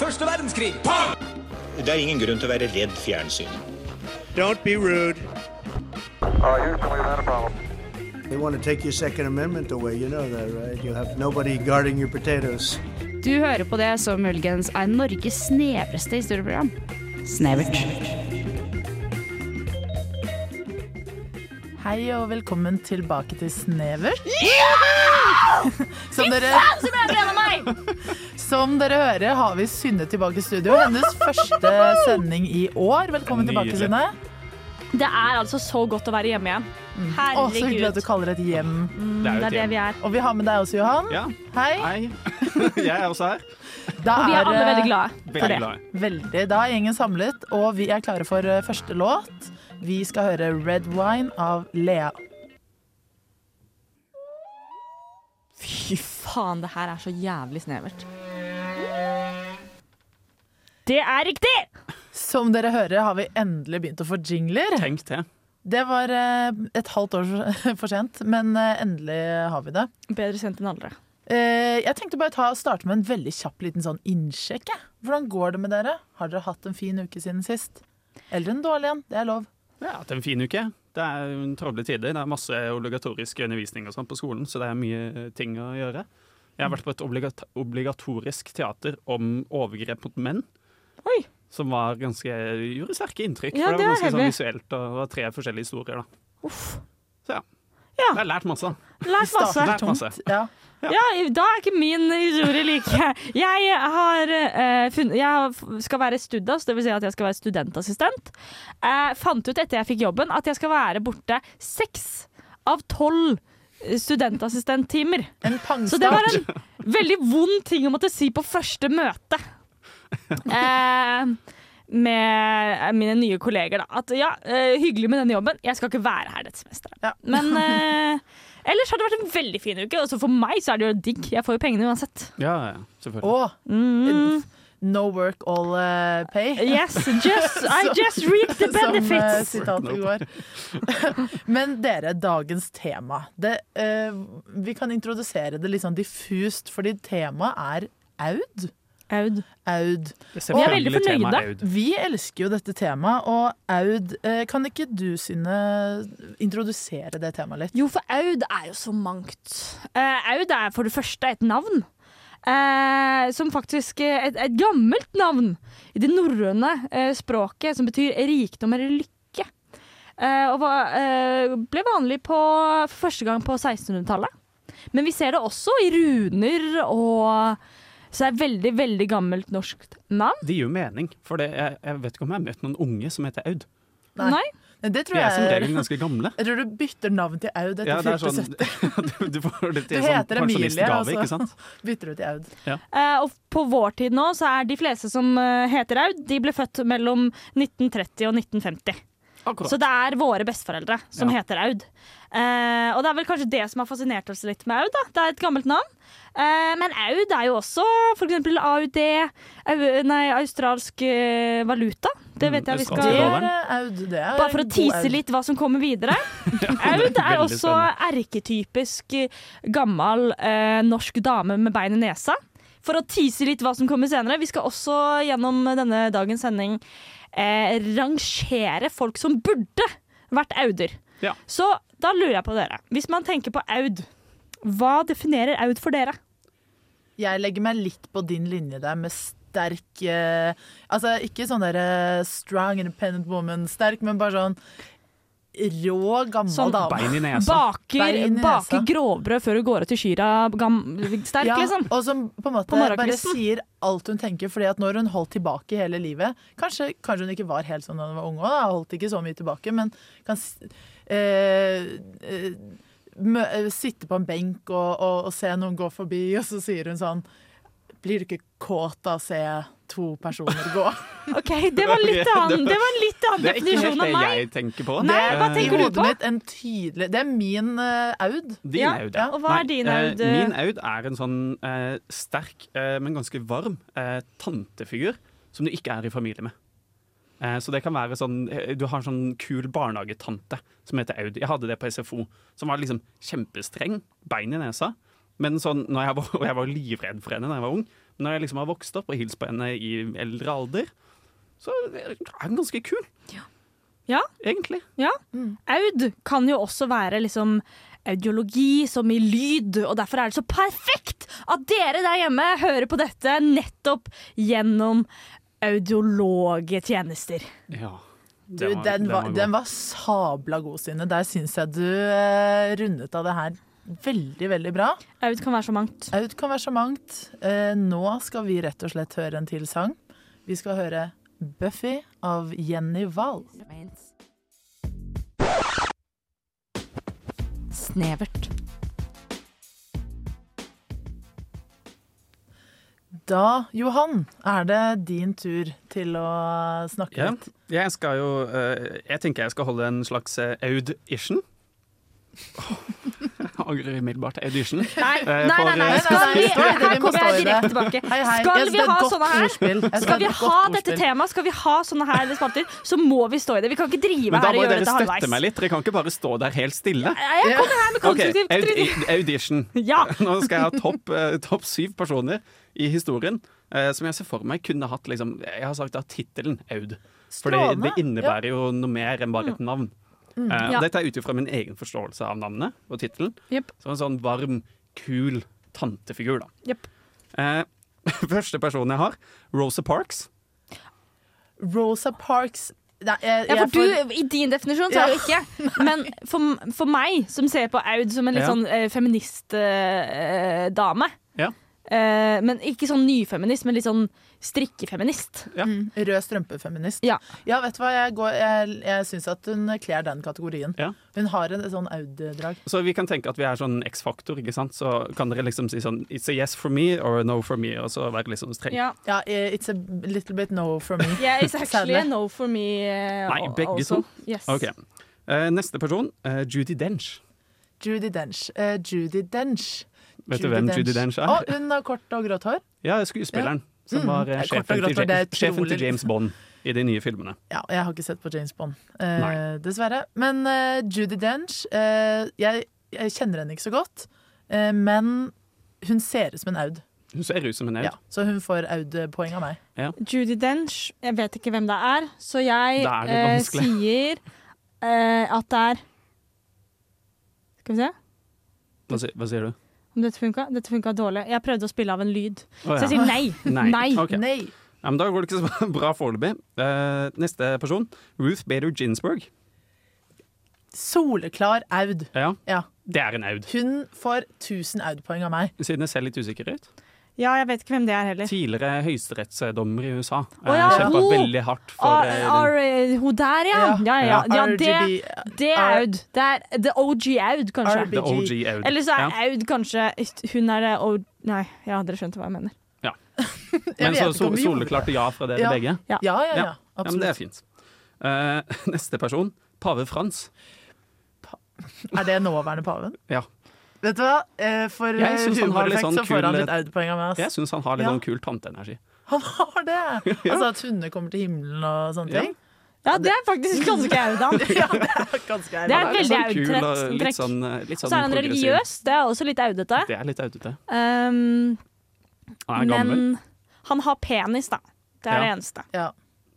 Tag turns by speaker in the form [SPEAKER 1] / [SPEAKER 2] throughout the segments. [SPEAKER 1] Første verdenskrig.
[SPEAKER 2] Det er ingen grunn til å være redd fjernsyn.
[SPEAKER 3] Don't be rude.
[SPEAKER 4] Uh, Houston, we've had a problem.
[SPEAKER 5] They want to take your Second Amendment away. You know that, right? You have nobody guarding your potatoes.
[SPEAKER 6] Du hører på det som muligens er Norges snevreste historieprogram. Snevert.
[SPEAKER 7] Hei og velkommen tilbake til Snevert. som, dere, som dere hører, har vi Synne tilbake i studio. Hennes første sending i år. Velkommen tilbake,
[SPEAKER 8] Nydelig.
[SPEAKER 7] Synne.
[SPEAKER 9] Det er altså så godt å være hjemme igjen.
[SPEAKER 7] Å, så hyggelig at
[SPEAKER 9] Herregud.
[SPEAKER 7] du kaller det et hjem.
[SPEAKER 9] Det
[SPEAKER 8] Det er jo
[SPEAKER 9] er
[SPEAKER 8] et
[SPEAKER 9] det vi
[SPEAKER 8] hjem.
[SPEAKER 9] er.
[SPEAKER 7] Og vi har med deg også, Johan.
[SPEAKER 8] Ja.
[SPEAKER 7] Hei.
[SPEAKER 8] Hei. Jeg er også her.
[SPEAKER 7] Da
[SPEAKER 9] Vi er alle
[SPEAKER 7] eh,
[SPEAKER 9] veldig glade for
[SPEAKER 8] Veldig
[SPEAKER 9] det.
[SPEAKER 8] glad.
[SPEAKER 7] Veldig. Da er gjengen samlet, og vi er klare for eh, første låt. Vi skal høre Red Wine av Lea.
[SPEAKER 9] Fy faen, det her er så jævlig snevert.
[SPEAKER 6] Det er riktig!
[SPEAKER 7] Som dere hører, har vi endelig begynt å få jingler.
[SPEAKER 8] Tenk det.
[SPEAKER 7] Det var eh, et halvt år for sent, men eh, endelig har vi det.
[SPEAKER 9] Bedre sendt enn aldri.
[SPEAKER 7] Eh, Jeg tenkte bare ta, starte med en veldig kjapp liten sånn innsjekk. jeg. Hvordan går det med dere? Har dere hatt en fin uke siden sist? Eller en dårlig en, det er lov.
[SPEAKER 8] Jeg har hatt en fin uke. Det er jo en travle tider. Det er masse obligatorisk undervisning og sånt på skolen, så det er mye eh, ting å gjøre. Jeg har vært på et obligat obligatorisk teater om overgrep mot menn.
[SPEAKER 9] Oi.
[SPEAKER 8] Som var ganske, eh, gjorde sterke inntrykk.
[SPEAKER 9] Ja,
[SPEAKER 8] for det,
[SPEAKER 9] det
[SPEAKER 8] var
[SPEAKER 9] er
[SPEAKER 8] ganske sånn
[SPEAKER 9] heavy.
[SPEAKER 8] visuelt, og det var tre forskjellige historier. da.
[SPEAKER 9] Uff.
[SPEAKER 8] Så ja.
[SPEAKER 9] Ja.
[SPEAKER 8] Jeg har lært masse.
[SPEAKER 9] Lært masse.
[SPEAKER 8] Lært masse.
[SPEAKER 7] Ja.
[SPEAKER 9] Ja, da er ikke min historie like. Jeg, har, eh, funn- jeg har- skal være studas, dvs. Si at jeg skal være studentassistent. Eh, fant ut etter jeg fikk jobben at jeg skal være borte seks av tolv studentassistenttimer.
[SPEAKER 7] En
[SPEAKER 9] Så det var
[SPEAKER 7] pangstart.
[SPEAKER 9] en veldig vond ting å måtte si på første møte. Eh, med mine nye kolleger, da. At ja, eh, hyggelig med denne jobben. Jeg skal ikke være her dette semesteret.
[SPEAKER 7] Ja.
[SPEAKER 9] Men eh, ellers har det vært en veldig fin uke. Og så for meg så er det jo digg. Jeg får jo pengene uansett.
[SPEAKER 8] Ja, ja, selvfølgelig.
[SPEAKER 7] Og
[SPEAKER 9] Mm.
[SPEAKER 7] No work all eh, pay.
[SPEAKER 9] Yes, just, I just reap the
[SPEAKER 7] Som eh,
[SPEAKER 9] benefits.
[SPEAKER 7] sitatet går. Men dere, dagens tema. Det, eh, vi kan introdusere det litt sånn diffust, fordi temaet er eh, aud.
[SPEAKER 9] Aud.
[SPEAKER 7] Aud.
[SPEAKER 9] Vi er veldig
[SPEAKER 8] Selvfølgelig tema
[SPEAKER 9] fornøyde.
[SPEAKER 8] Aud.
[SPEAKER 7] Vi elsker jo dette temaet, og aud eh, Kan ikke du, Synne, introdusere det temaet litt?
[SPEAKER 9] Jo, for Aud er jo så mangt. Eh, Aud er for det første et navn. eh, som faktisk eh, et, et gammelt navn i det norrøne eh, språket, som betyr rikdom eller lykke. Eh, og var, eh, ble vanlig på, for første gang på 1600-tallet. Men vi ser det også i runer og Så det er et veldig, veldig gammelt norsk navn.
[SPEAKER 8] Det gir jo mening, for det, jeg, jeg vet ikke om jeg har møtt noen unge som heter Aud.
[SPEAKER 7] Nei.
[SPEAKER 9] Nei?
[SPEAKER 7] Det tror
[SPEAKER 8] De er som
[SPEAKER 7] jeg
[SPEAKER 8] regel ganske gamle.
[SPEAKER 7] Jeg tror du bytter navn til aud etter
[SPEAKER 8] Ja, det er
[SPEAKER 7] 14
[SPEAKER 8] sånn, du, du får det
[SPEAKER 7] Du
[SPEAKER 8] til sånn
[SPEAKER 7] heter Emilie,
[SPEAKER 8] pensjonistgave,
[SPEAKER 7] altså.
[SPEAKER 8] ikke sant?
[SPEAKER 7] Bytter du til aud.
[SPEAKER 9] Eh, og på vår tid nå så er de fleste som eh, heter Aud, de ble født mellom 1930 og 1950.
[SPEAKER 8] Akkurat.
[SPEAKER 9] Så det er våre besteforeldre som
[SPEAKER 8] Ja.
[SPEAKER 9] heter Aud. Eh, og det er vel kanskje det som har fascinert oss litt med Aud. da. Det er et gammelt navn. Eh, men Aud er jo også for eksempel AUD, au- nei, australsk eh, valuta. Det vet jeg vi
[SPEAKER 7] Det
[SPEAKER 8] Ja,
[SPEAKER 9] skal
[SPEAKER 8] Mm, australsk
[SPEAKER 7] er
[SPEAKER 8] loveren.
[SPEAKER 7] eh, aud, det er
[SPEAKER 9] Bare for å
[SPEAKER 7] god
[SPEAKER 9] tease
[SPEAKER 7] aud.
[SPEAKER 9] litt hva som kommer videre. Aud er
[SPEAKER 8] veldig
[SPEAKER 9] også erketypisk eh, gammel eh, norsk dame med bein i nesa. For å tease litt hva som kommer senere, vi skal også gjennom denne dagens sending eh, rangere folk som burde vært auder.
[SPEAKER 8] Ja.
[SPEAKER 9] Så da lurer jeg på dere. Hvis man tenker på aud, hva definerer aud for dere?
[SPEAKER 7] Jeg legger meg litt på din linje der med sterk eh, Altså ikke sånn der eh, strong independent woman, sterk, men bare sånn rå, gammel
[SPEAKER 9] Sånn
[SPEAKER 7] dame.
[SPEAKER 8] Bein i nesa.
[SPEAKER 9] Baker,
[SPEAKER 7] Bein i nesa.
[SPEAKER 9] baker grovbrød før hun går ut i kyra gam, sterk,
[SPEAKER 7] Ja,
[SPEAKER 9] liksom.
[SPEAKER 7] og som på en måte
[SPEAKER 9] På morgenkvisten.
[SPEAKER 7] bare sier alt hun tenker. Fordi at når hun holdt tilbake hele livet Kanskje, kanskje hun ikke var helt sånn da hun var ung, og holdt ikke så mye tilbake, men kan s- eh, eh, mø, eh, sitte på en benk og, og, og se noen gå forbi, og så sier hun sånn Blir du ikke kåt av å se to personer gå?
[SPEAKER 9] Ok, Det var litt annen, det var en litt annen
[SPEAKER 8] Det er ikke
[SPEAKER 9] definisjon
[SPEAKER 8] helt
[SPEAKER 9] av
[SPEAKER 8] det
[SPEAKER 9] meg.
[SPEAKER 8] jeg tenker på.
[SPEAKER 9] Nei, hva
[SPEAKER 7] I
[SPEAKER 9] tenker du
[SPEAKER 7] hodet
[SPEAKER 9] på?
[SPEAKER 7] mitt en tydelig Det er min eh, aud.
[SPEAKER 8] Din
[SPEAKER 9] Ja.
[SPEAKER 8] Aud,
[SPEAKER 7] Ja.
[SPEAKER 9] Og hva er din
[SPEAKER 8] Nei,
[SPEAKER 9] Aud?
[SPEAKER 8] eh, min Aud er en sånn eh, sterk, eh, men ganske varm eh, tantefigur som du ikke er i familie med. Eh, så det kan være sånn eh, Du har en sånn kul barnehagetante som heter Aud. Jeg hadde det på SFO. Som var liksom kjempestreng, bein i nesa, Men sånn, når jeg var, og jeg var livredd for henne da jeg var ung. Men når jeg liksom har vokst opp og hilst på henne i eldre alder, så er hun ganske kul.
[SPEAKER 9] Ja.
[SPEAKER 8] Egentlig.
[SPEAKER 9] Ja. Aud kan jo også være liksom audiologi som i lyd, og derfor er det så perfekt at dere der hjemme hører på dette nettopp gjennom audiologetjenester.
[SPEAKER 8] Ja.
[SPEAKER 7] Du, den var, den var sabla god, Synne. Der syns jeg du eh, rundet av det her veldig, veldig bra.
[SPEAKER 9] Aud kan være så mangt.
[SPEAKER 7] Aud kan være så mangt. Eh, nå skal vi rett og slett høre en til sang. Vi skal høre Buffy av Jenny Wahl.
[SPEAKER 1] Snevert.
[SPEAKER 7] Da, Johan, er det din tur til å snakke
[SPEAKER 8] Ja.
[SPEAKER 7] litt.
[SPEAKER 8] Jeg skal jo eh, Jeg tenker jeg skal holde en slags eh, audition. Åh, Jeg angrer umiddelbart. Audition.
[SPEAKER 9] Nei, nei,
[SPEAKER 8] for,
[SPEAKER 9] nei. nei.
[SPEAKER 8] eh,
[SPEAKER 9] Skal vi,
[SPEAKER 7] Nei, nei, nei,
[SPEAKER 9] her
[SPEAKER 7] vi må
[SPEAKER 9] kommer
[SPEAKER 7] stå
[SPEAKER 9] jeg
[SPEAKER 7] i det.
[SPEAKER 9] direkte tilbake.
[SPEAKER 7] Hei, hei.
[SPEAKER 9] Skal
[SPEAKER 7] Jeg-
[SPEAKER 9] vi
[SPEAKER 7] det er
[SPEAKER 9] ha
[SPEAKER 7] godt
[SPEAKER 9] sånne her?
[SPEAKER 7] ordspill. Jeg synes
[SPEAKER 9] Skal vi
[SPEAKER 7] det er
[SPEAKER 9] ha
[SPEAKER 7] godt
[SPEAKER 9] dette
[SPEAKER 7] ordspill.
[SPEAKER 9] temaet, skal vi ha sånne her spalter, så må vi stå i det. Vi kan ikke drive
[SPEAKER 8] Men
[SPEAKER 9] her
[SPEAKER 8] da
[SPEAKER 9] og
[SPEAKER 8] må jo
[SPEAKER 9] gjøre
[SPEAKER 8] dere
[SPEAKER 9] dette
[SPEAKER 8] støtte meg
[SPEAKER 9] halvveis.
[SPEAKER 8] litt. Dere kan ikke bare stå der helt stille.
[SPEAKER 9] Nei, Jeg kommer her med
[SPEAKER 8] Ok,
[SPEAKER 9] konstruktivt kritikk.
[SPEAKER 8] audi- audition.
[SPEAKER 9] Ja.
[SPEAKER 8] Nå skal jeg ha topp eh, topp syv personer i historien eh, som jeg ser for meg kunne hatt liksom, Jeg har sagt da tittelen Aud. For det,
[SPEAKER 7] Strålende.
[SPEAKER 8] det innebærer jo noe mer enn bare et navn. Eh, og
[SPEAKER 9] Mm. Ja.
[SPEAKER 8] Dette er ut ifra min egen forståelse av navnet og tittelen.
[SPEAKER 9] Jepp.
[SPEAKER 8] Som en sånn varm, kul tantefigur, da.
[SPEAKER 9] Jepp.
[SPEAKER 8] Eh, første personen jeg har, Rosa Parks.
[SPEAKER 7] Rosa Parks Nei, jeg,
[SPEAKER 9] Ja,
[SPEAKER 7] jeg
[SPEAKER 9] for
[SPEAKER 7] får-
[SPEAKER 9] du, I din definisjon så er det ikke. Men for, for meg, som ser på Aud som en litt
[SPEAKER 8] Ja.
[SPEAKER 9] sånn eh, feministdame
[SPEAKER 8] Ja.
[SPEAKER 9] eh, Men ikke sånn nyfeminist, men litt sånn strikkefeminist.
[SPEAKER 7] mm, Rød strømpefeminist.
[SPEAKER 9] Ja.
[SPEAKER 7] ja, vet du hva, jeg, går- jeg, jeg syns at hun kler den kategorien.
[SPEAKER 8] Ja.
[SPEAKER 7] Hun har en sånn Aud-drag.
[SPEAKER 8] Så vi kan tenke at vi er sånn X-faktor, ikke sant. Så kan dere liksom si sånn It's a yes for me or a no for me, og så være liksom streng.
[SPEAKER 9] Ja.
[SPEAKER 7] Ja, eh, it's a little bit no for me.
[SPEAKER 9] Yeah, it's actually a
[SPEAKER 7] Sadly.
[SPEAKER 9] no for me. eh,
[SPEAKER 8] Nei,
[SPEAKER 9] al-
[SPEAKER 8] begge
[SPEAKER 9] also.
[SPEAKER 8] to.
[SPEAKER 9] Yes.
[SPEAKER 8] Ok. Eh, neste person, eh, Judy Dench.
[SPEAKER 7] Judy Dench. Eh, Judy Dench.
[SPEAKER 8] Vet du hvem Judy Dench er?
[SPEAKER 7] Å, hun har kort og grått hår.
[SPEAKER 8] Ja, skuespilleren. Som
[SPEAKER 7] Mm.
[SPEAKER 8] var
[SPEAKER 7] Det
[SPEAKER 8] eh,
[SPEAKER 7] er kort og
[SPEAKER 8] sjefen,
[SPEAKER 7] godt,
[SPEAKER 8] til,
[SPEAKER 7] for det er
[SPEAKER 8] Ja- sjefen til
[SPEAKER 7] utrolig.
[SPEAKER 8] James Bond i de nye filmene.
[SPEAKER 7] Ja, jeg har ikke sett på James Bond, eh,
[SPEAKER 8] Nei.
[SPEAKER 7] dessverre. Men eh, Judy Dench eh, jeg, jeg kjenner henne ikke så godt, eh, men hun ser ut som en Aud.
[SPEAKER 8] Hun ser ut som en Aud.
[SPEAKER 7] Ja, så hun får Aud-poeng av meg.
[SPEAKER 9] Judy Dench. Jeg vet ikke hvem det er, så jeg
[SPEAKER 8] Da er det
[SPEAKER 9] eh,
[SPEAKER 8] vanskelig.
[SPEAKER 9] sier eh, at det er Skal vi se
[SPEAKER 8] Hva, si- hva sier du?
[SPEAKER 9] om dette funka. Dette funka dårlig. Jeg prøvde å spille av en lyd,
[SPEAKER 8] Å,
[SPEAKER 9] så jeg
[SPEAKER 8] ja.
[SPEAKER 9] sier nei.
[SPEAKER 8] Nei. Ok.
[SPEAKER 7] Nei!
[SPEAKER 8] Ja, men da går det ikke så bra foreløpig. Eh, neste person, Ruth Bader Ginsburg.
[SPEAKER 7] Soleklar Aud.
[SPEAKER 8] Ja,
[SPEAKER 7] Ja.
[SPEAKER 8] det er en Aud.
[SPEAKER 7] Hun får 1000 Aud-poeng av meg.
[SPEAKER 8] Siden jeg ser litt usikker ut.
[SPEAKER 9] Ja, jeg vet ikke hvem det er heller.
[SPEAKER 8] Tidligere høyesterettsdommer i USA.
[SPEAKER 9] Å, ja, oh!
[SPEAKER 8] Eh, Kjempa
[SPEAKER 9] hun.
[SPEAKER 8] veldig hardt for eh,
[SPEAKER 9] Ar,
[SPEAKER 8] den.
[SPEAKER 9] ar, Ah, hun der, ja. Ja, ja, ja. det,
[SPEAKER 7] RGB.
[SPEAKER 9] det er
[SPEAKER 7] R-
[SPEAKER 9] Aud. Det er The OG Aud, kanskje.
[SPEAKER 7] RBG.
[SPEAKER 8] The OG Aud.
[SPEAKER 9] Eller så er
[SPEAKER 8] ja.
[SPEAKER 9] Aud kanskje Hun er det OG Nei, ja, dere skjønte hva jeg mener.
[SPEAKER 7] Jeg
[SPEAKER 8] Men
[SPEAKER 7] vet ikke
[SPEAKER 8] så
[SPEAKER 7] om
[SPEAKER 8] sol-
[SPEAKER 7] vi gjorde det.
[SPEAKER 8] soleklart ja fra dere
[SPEAKER 7] Ja.
[SPEAKER 8] begge.
[SPEAKER 7] Ja, ja, ja.
[SPEAKER 8] Ja, men det er
[SPEAKER 7] Absolutt.
[SPEAKER 8] fint. Eh, neste person, pave Frans.
[SPEAKER 7] er, det nåværende paven?
[SPEAKER 8] Ja.
[SPEAKER 7] Vet du hva? Eh, For
[SPEAKER 8] Jeg synes han har litt
[SPEAKER 7] humoreffekt
[SPEAKER 8] sånn
[SPEAKER 7] så får han
[SPEAKER 8] kul-
[SPEAKER 7] litt Aud-poeng av meg.
[SPEAKER 8] Jeg
[SPEAKER 7] Ass.
[SPEAKER 8] syns han har litt
[SPEAKER 7] Ja.
[SPEAKER 8] sånn kul tanteenergi.
[SPEAKER 7] Han har det! Altså at hunder kommer til himmelen og sånne
[SPEAKER 8] Ja.
[SPEAKER 7] ting.
[SPEAKER 9] Ja, det er faktisk ganske Aud, han.
[SPEAKER 7] Ja, det er ganske
[SPEAKER 9] Det
[SPEAKER 7] ærlig.
[SPEAKER 9] er
[SPEAKER 8] Han litt
[SPEAKER 9] veldig
[SPEAKER 8] sånn kul
[SPEAKER 9] Aud-trekk.
[SPEAKER 8] og Litt sånn, eh, litt
[SPEAKER 9] Og
[SPEAKER 8] sånn
[SPEAKER 9] så er han
[SPEAKER 8] progressiv.
[SPEAKER 9] religiøs. Det er også litt Audete.
[SPEAKER 8] Det er litt audete.
[SPEAKER 9] Um,
[SPEAKER 8] Han er gammel.
[SPEAKER 9] men han har penis, da. Det er
[SPEAKER 8] Ja.
[SPEAKER 9] det eneste.
[SPEAKER 7] Ja.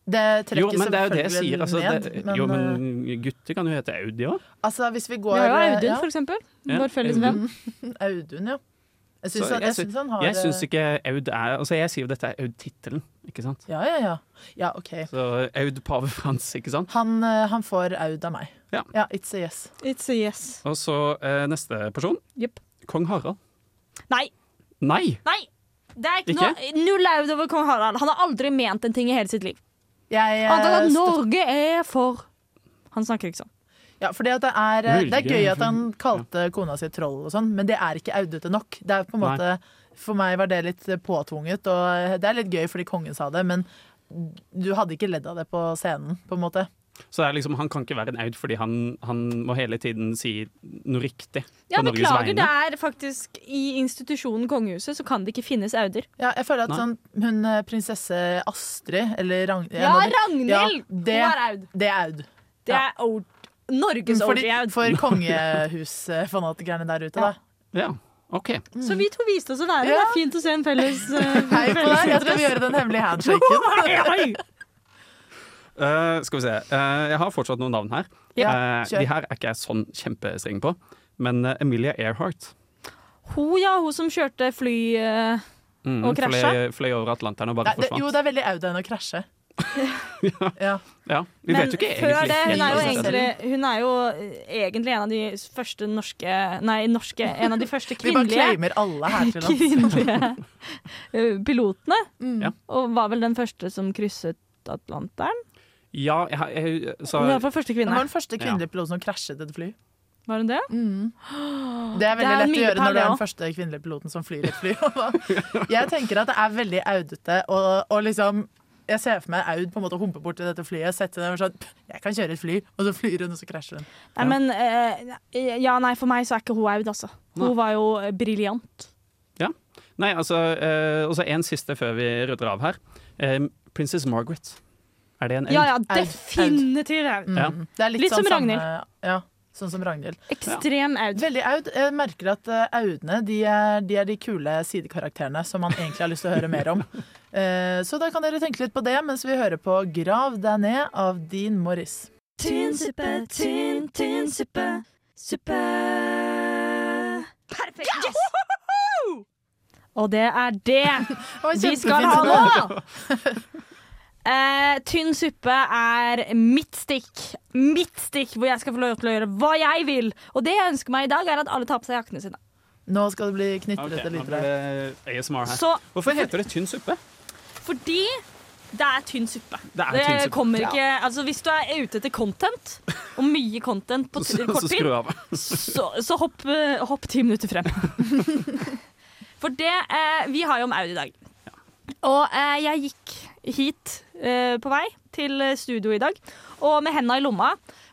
[SPEAKER 7] Det trekker
[SPEAKER 8] Jo, men det er jo det jeg
[SPEAKER 7] selvfølgelig
[SPEAKER 8] sier. Altså,
[SPEAKER 7] ned,
[SPEAKER 8] det,
[SPEAKER 7] men,
[SPEAKER 8] jo,
[SPEAKER 9] eh,
[SPEAKER 8] men gutter kan jo hete Aud, de òg.
[SPEAKER 7] eh, altså hvis vi går
[SPEAKER 9] Vi har jo
[SPEAKER 7] eh,
[SPEAKER 9] Audun,
[SPEAKER 7] ja,
[SPEAKER 9] for eksempel.
[SPEAKER 8] Ja,
[SPEAKER 9] Vår felles
[SPEAKER 8] Audun.
[SPEAKER 9] venn.
[SPEAKER 7] Audun, ja. Jeg syns
[SPEAKER 8] Så
[SPEAKER 7] han,
[SPEAKER 8] jeg
[SPEAKER 7] jeg
[SPEAKER 8] sy-
[SPEAKER 7] synes han har
[SPEAKER 8] Jeg
[SPEAKER 7] eh,
[SPEAKER 8] syns ikke Aud er Altså, jeg sier jo dette er Aud-tittelen, ikke sant?
[SPEAKER 7] Ja, ja, ja. Ja, OK.
[SPEAKER 8] Så Aud pave Frans, ikke sant?
[SPEAKER 7] Han, eh, han får Aud av meg.
[SPEAKER 8] Ja.
[SPEAKER 7] it's a yes.
[SPEAKER 9] It's a yes.
[SPEAKER 8] Og så eh, neste person.
[SPEAKER 9] Jepp.
[SPEAKER 8] Kong Harald.
[SPEAKER 9] Nei!
[SPEAKER 8] Nei!
[SPEAKER 9] Nei! Det er ikke,
[SPEAKER 8] Ikke?
[SPEAKER 9] noe Null Aud over kong Harald. Han har aldri ment en ting i hele sitt liv.
[SPEAKER 7] Jeg, eh,
[SPEAKER 8] Ah,
[SPEAKER 9] Annet enn at
[SPEAKER 7] støtter-
[SPEAKER 9] Norge er for Han snakker ikke sånn.
[SPEAKER 7] ja, fordi at det, er, eh, det er
[SPEAKER 8] Norge,
[SPEAKER 7] gøy at han kalte kona si troll og sånn, men det er ikke audete nok. Det er på en
[SPEAKER 8] Nei.
[SPEAKER 7] måte, For meg var det litt eh, påtvunget, og eh, det er litt gøy fordi kongen sa det, men du hadde ikke ledd av det på scenen, på en måte.
[SPEAKER 8] Så det er liksom, han kan ikke være en Aud fordi han, han må hele tiden si noe riktig
[SPEAKER 9] Ja,
[SPEAKER 8] på Norges
[SPEAKER 9] beklager, det
[SPEAKER 8] vegne.
[SPEAKER 9] er faktisk I institusjonen kongehuset så kan det ikke finnes Auder.
[SPEAKER 7] Ja, jeg føler at
[SPEAKER 8] Nei.
[SPEAKER 7] sånn, hun eh, prinsesse Astrid, eller Ragn... en
[SPEAKER 9] Ja,
[SPEAKER 7] av de-
[SPEAKER 9] Ragnhild!
[SPEAKER 7] Ja,
[SPEAKER 9] Hun er
[SPEAKER 7] det,
[SPEAKER 9] Aud.
[SPEAKER 7] det er Aud.
[SPEAKER 9] Det er Aud. Norges
[SPEAKER 7] Fordi,
[SPEAKER 9] OG Aud.
[SPEAKER 7] for kongehusfanatikerne der ute, da.
[SPEAKER 8] Ja. OK.
[SPEAKER 9] Så vi to viste oss å være. Det
[SPEAKER 7] Ja.
[SPEAKER 9] er fint å se en felles eh,
[SPEAKER 7] Hei på deg,
[SPEAKER 9] felles
[SPEAKER 7] jeg skal
[SPEAKER 9] interesse.
[SPEAKER 7] gjøre den hemmelige handshaken.
[SPEAKER 8] Eh, skal vi se. Eh, jeg har fortsatt noen navn her.
[SPEAKER 7] Ja,
[SPEAKER 8] Eh,
[SPEAKER 7] kjør.
[SPEAKER 8] de her er ikke jeg sånn kjempestreng på. Men eh, Emilia Earhart
[SPEAKER 9] Hun, ja, hun som kjørte fly eh,
[SPEAKER 8] mm,
[SPEAKER 9] Og
[SPEAKER 8] fløy,
[SPEAKER 9] krasja?
[SPEAKER 8] fløy over Atlanteren og bare
[SPEAKER 7] Nei, det,
[SPEAKER 8] forsvant.
[SPEAKER 7] jo, det er veldig Audun å krasje. Ja.
[SPEAKER 8] ja, vi
[SPEAKER 9] Men
[SPEAKER 8] vet jo ikke egentlig
[SPEAKER 9] før det, hun er jo
[SPEAKER 8] helt hva det
[SPEAKER 9] egentlig, hun er jo eh, egentlig en av de første norske Nei, norske, en av de første
[SPEAKER 7] Vi bare
[SPEAKER 9] kvinnelige,
[SPEAKER 7] claimer alle her til lands.
[SPEAKER 9] kvinnelige eh, pilotene.
[SPEAKER 8] Ja.
[SPEAKER 9] Og var vel den første som krysset Atlanteren.
[SPEAKER 8] Ja, jeg, har- jeg, så,
[SPEAKER 9] Hun var Mm. i hvert fall første
[SPEAKER 7] Hun
[SPEAKER 9] kvinne.
[SPEAKER 7] var den første kvinnelige piloten som krasjet et fly.
[SPEAKER 9] Var hun det?
[SPEAKER 7] Det er veldig
[SPEAKER 9] Det er
[SPEAKER 7] lett å gjøre når du er
[SPEAKER 9] milepæl,
[SPEAKER 7] den første kvinnelige piloten som flyr et fly. Jeg tenker at det er veldig audete å å liksom jeg ser for meg Aud på en måte humpe bort til dette flyet, sette ned og sånn «Pff, Jeg kan kjøre et fly, og så flyr hun, og så krasjer hun.
[SPEAKER 9] Nei, men eh, Ja, nei, for meg så er ikke hun Aud, altså. Hun
[SPEAKER 8] Nei.
[SPEAKER 9] var jo eh, briljant.
[SPEAKER 8] Nei, altså eh, Og så en siste før vi rydder av her. Eh, Princess Margaret. Er det en L?
[SPEAKER 9] Ja, ja,
[SPEAKER 7] Aud.
[SPEAKER 9] definitivt Aud.
[SPEAKER 8] Ja.
[SPEAKER 7] Mm. Det er litt,
[SPEAKER 9] Litt som
[SPEAKER 7] sånn samme-
[SPEAKER 9] Ragnhild.
[SPEAKER 7] Ja, sånn som Ragnhild.
[SPEAKER 9] Ekstrem Aud.
[SPEAKER 7] Veldig Aud. Jeg merker at eh, Audene de er, de er de kule sidekarakterene som man egentlig har lyst til å høre mer om. Eh, Så da kan dere tenke litt på det mens vi hører på 'Grav deg ned' av Dean Morris.
[SPEAKER 9] Tynnsuppe, tynn, tynn suppe. Suppe. Perfekt. Og det er det
[SPEAKER 7] Å,
[SPEAKER 9] vi skal
[SPEAKER 7] kjempefint.
[SPEAKER 9] ha nå! Eh, tynn suppe er mitt stikk. Mitt stikk hvor jeg skal få lov til å gjøre hva jeg vil. Og det jeg ønsker meg i dag, er at alle tar på seg jakkene sine.
[SPEAKER 7] Nå skal det bli
[SPEAKER 8] Ok,
[SPEAKER 7] knyttet
[SPEAKER 8] nå
[SPEAKER 7] okay, lyder
[SPEAKER 8] blir
[SPEAKER 7] her.
[SPEAKER 8] det ASMR her.
[SPEAKER 9] Så
[SPEAKER 8] Hvorfor heter det tynn suppe?
[SPEAKER 9] fordi det er tynn suppe.
[SPEAKER 8] Det er
[SPEAKER 9] Det
[SPEAKER 8] tynn suppe.
[SPEAKER 9] kommer ikke, altså Hvis du er ute etter content, og mye content på
[SPEAKER 8] Så,
[SPEAKER 9] t-
[SPEAKER 8] så
[SPEAKER 9] kort tid,
[SPEAKER 8] skru av.
[SPEAKER 9] så, så hopp, eh, hopp ti minutter frem. For det eh, Vi har jo om Audi i dag. Og eh, jeg gikk hit eh, på vei til eh, studio i dag, og med henda i lomma,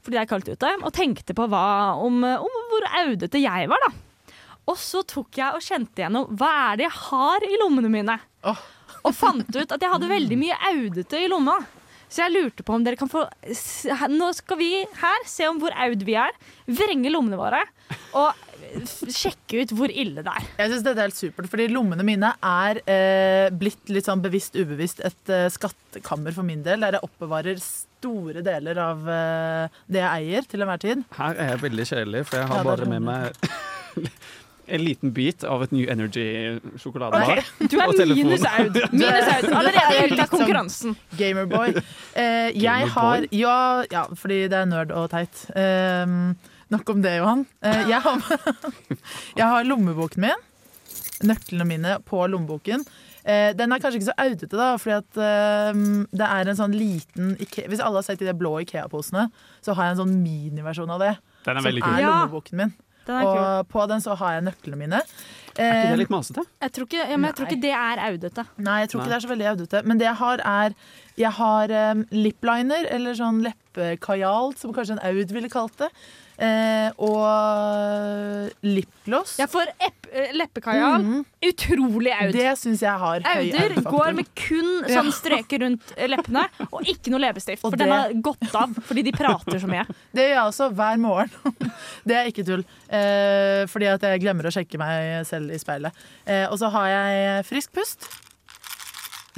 [SPEAKER 9] fordi det er kaldt ute, og tenkte på hva, om, eh, om hvor audete jeg var, da. Og så tok jeg og kjente gjennom hva er det jeg har i lommene mine.
[SPEAKER 7] Åh.
[SPEAKER 9] Og fant ut at jeg hadde veldig mye audete i lomma. Så jeg lurte på om dere kan få s- her- Nå skal vi her se om hvor aud vi er, vrenge lommene våre og f- sjekke ut hvor ille det er.
[SPEAKER 7] Jeg synes dette er helt supert, fordi lommene mine er eh, blitt litt sånn bevisst ubevisst et eh, skattkammer for min del, der jeg oppbevarer store deler av eh, det jeg eier til enhver tid.
[SPEAKER 8] Her er jeg veldig kjedelig, for jeg har
[SPEAKER 7] Ja, det er
[SPEAKER 8] bare med meg en liten bit av et New Energy-sjokoladebar.
[SPEAKER 9] Du er
[SPEAKER 8] Og telefon.
[SPEAKER 9] minus aud. Minus aud.
[SPEAKER 7] sånn-
[SPEAKER 9] Allerede ute av konkurransen.
[SPEAKER 7] Gamerboy. Eh, jeg
[SPEAKER 8] Gamerboy?
[SPEAKER 7] har ja, ja, fordi det er nerd og teit. Eh, nok om det, Johan. Eh, jeg, har, jeg har lommeboken min. Nøklene mine på lommeboken. Eh, den er kanskje ikke så audete, da, fordi at eh, det er en sånn liten Ikea Hvis alle har sett de der blå Ikea-posene, så har jeg en sånn miniversjon av det.
[SPEAKER 8] Den er
[SPEAKER 7] Som
[SPEAKER 8] veldig kul.
[SPEAKER 7] er
[SPEAKER 9] Ja.
[SPEAKER 7] lommeboken min.
[SPEAKER 9] Den er kul.
[SPEAKER 7] Og på den så har jeg nøklene mine.
[SPEAKER 8] Er ikke
[SPEAKER 7] Eh,
[SPEAKER 8] det litt masete?
[SPEAKER 9] Jeg tror ikke, ja, men jeg tror ikke det er audete.
[SPEAKER 7] Nei, jeg tror ikke
[SPEAKER 8] Nei.
[SPEAKER 7] det er så veldig audete. Men det jeg har, er Jeg har um, lipliner, eller sånn leppekajal, som kanskje en Aud ville kalt det. Eh, og lipgloss. Mm,
[SPEAKER 9] Jeg får epp- eh, leppekajal. Utrolig aud.
[SPEAKER 7] Det syns jeg har høy
[SPEAKER 9] Auder
[SPEAKER 7] Aud-faktor.
[SPEAKER 9] går med kun
[SPEAKER 7] Ja.
[SPEAKER 9] sånn streker rundt eh, leppene og ikke noe leppestift.
[SPEAKER 7] Og
[SPEAKER 9] For
[SPEAKER 7] det-
[SPEAKER 9] den har gått av fordi de prater så mye.
[SPEAKER 7] Det gjør jeg også hver morgen. det er ikke tull. Eh, fordi at jeg glemmer å sjekke meg selv i speilet. Eh, og så har jeg frisk pust,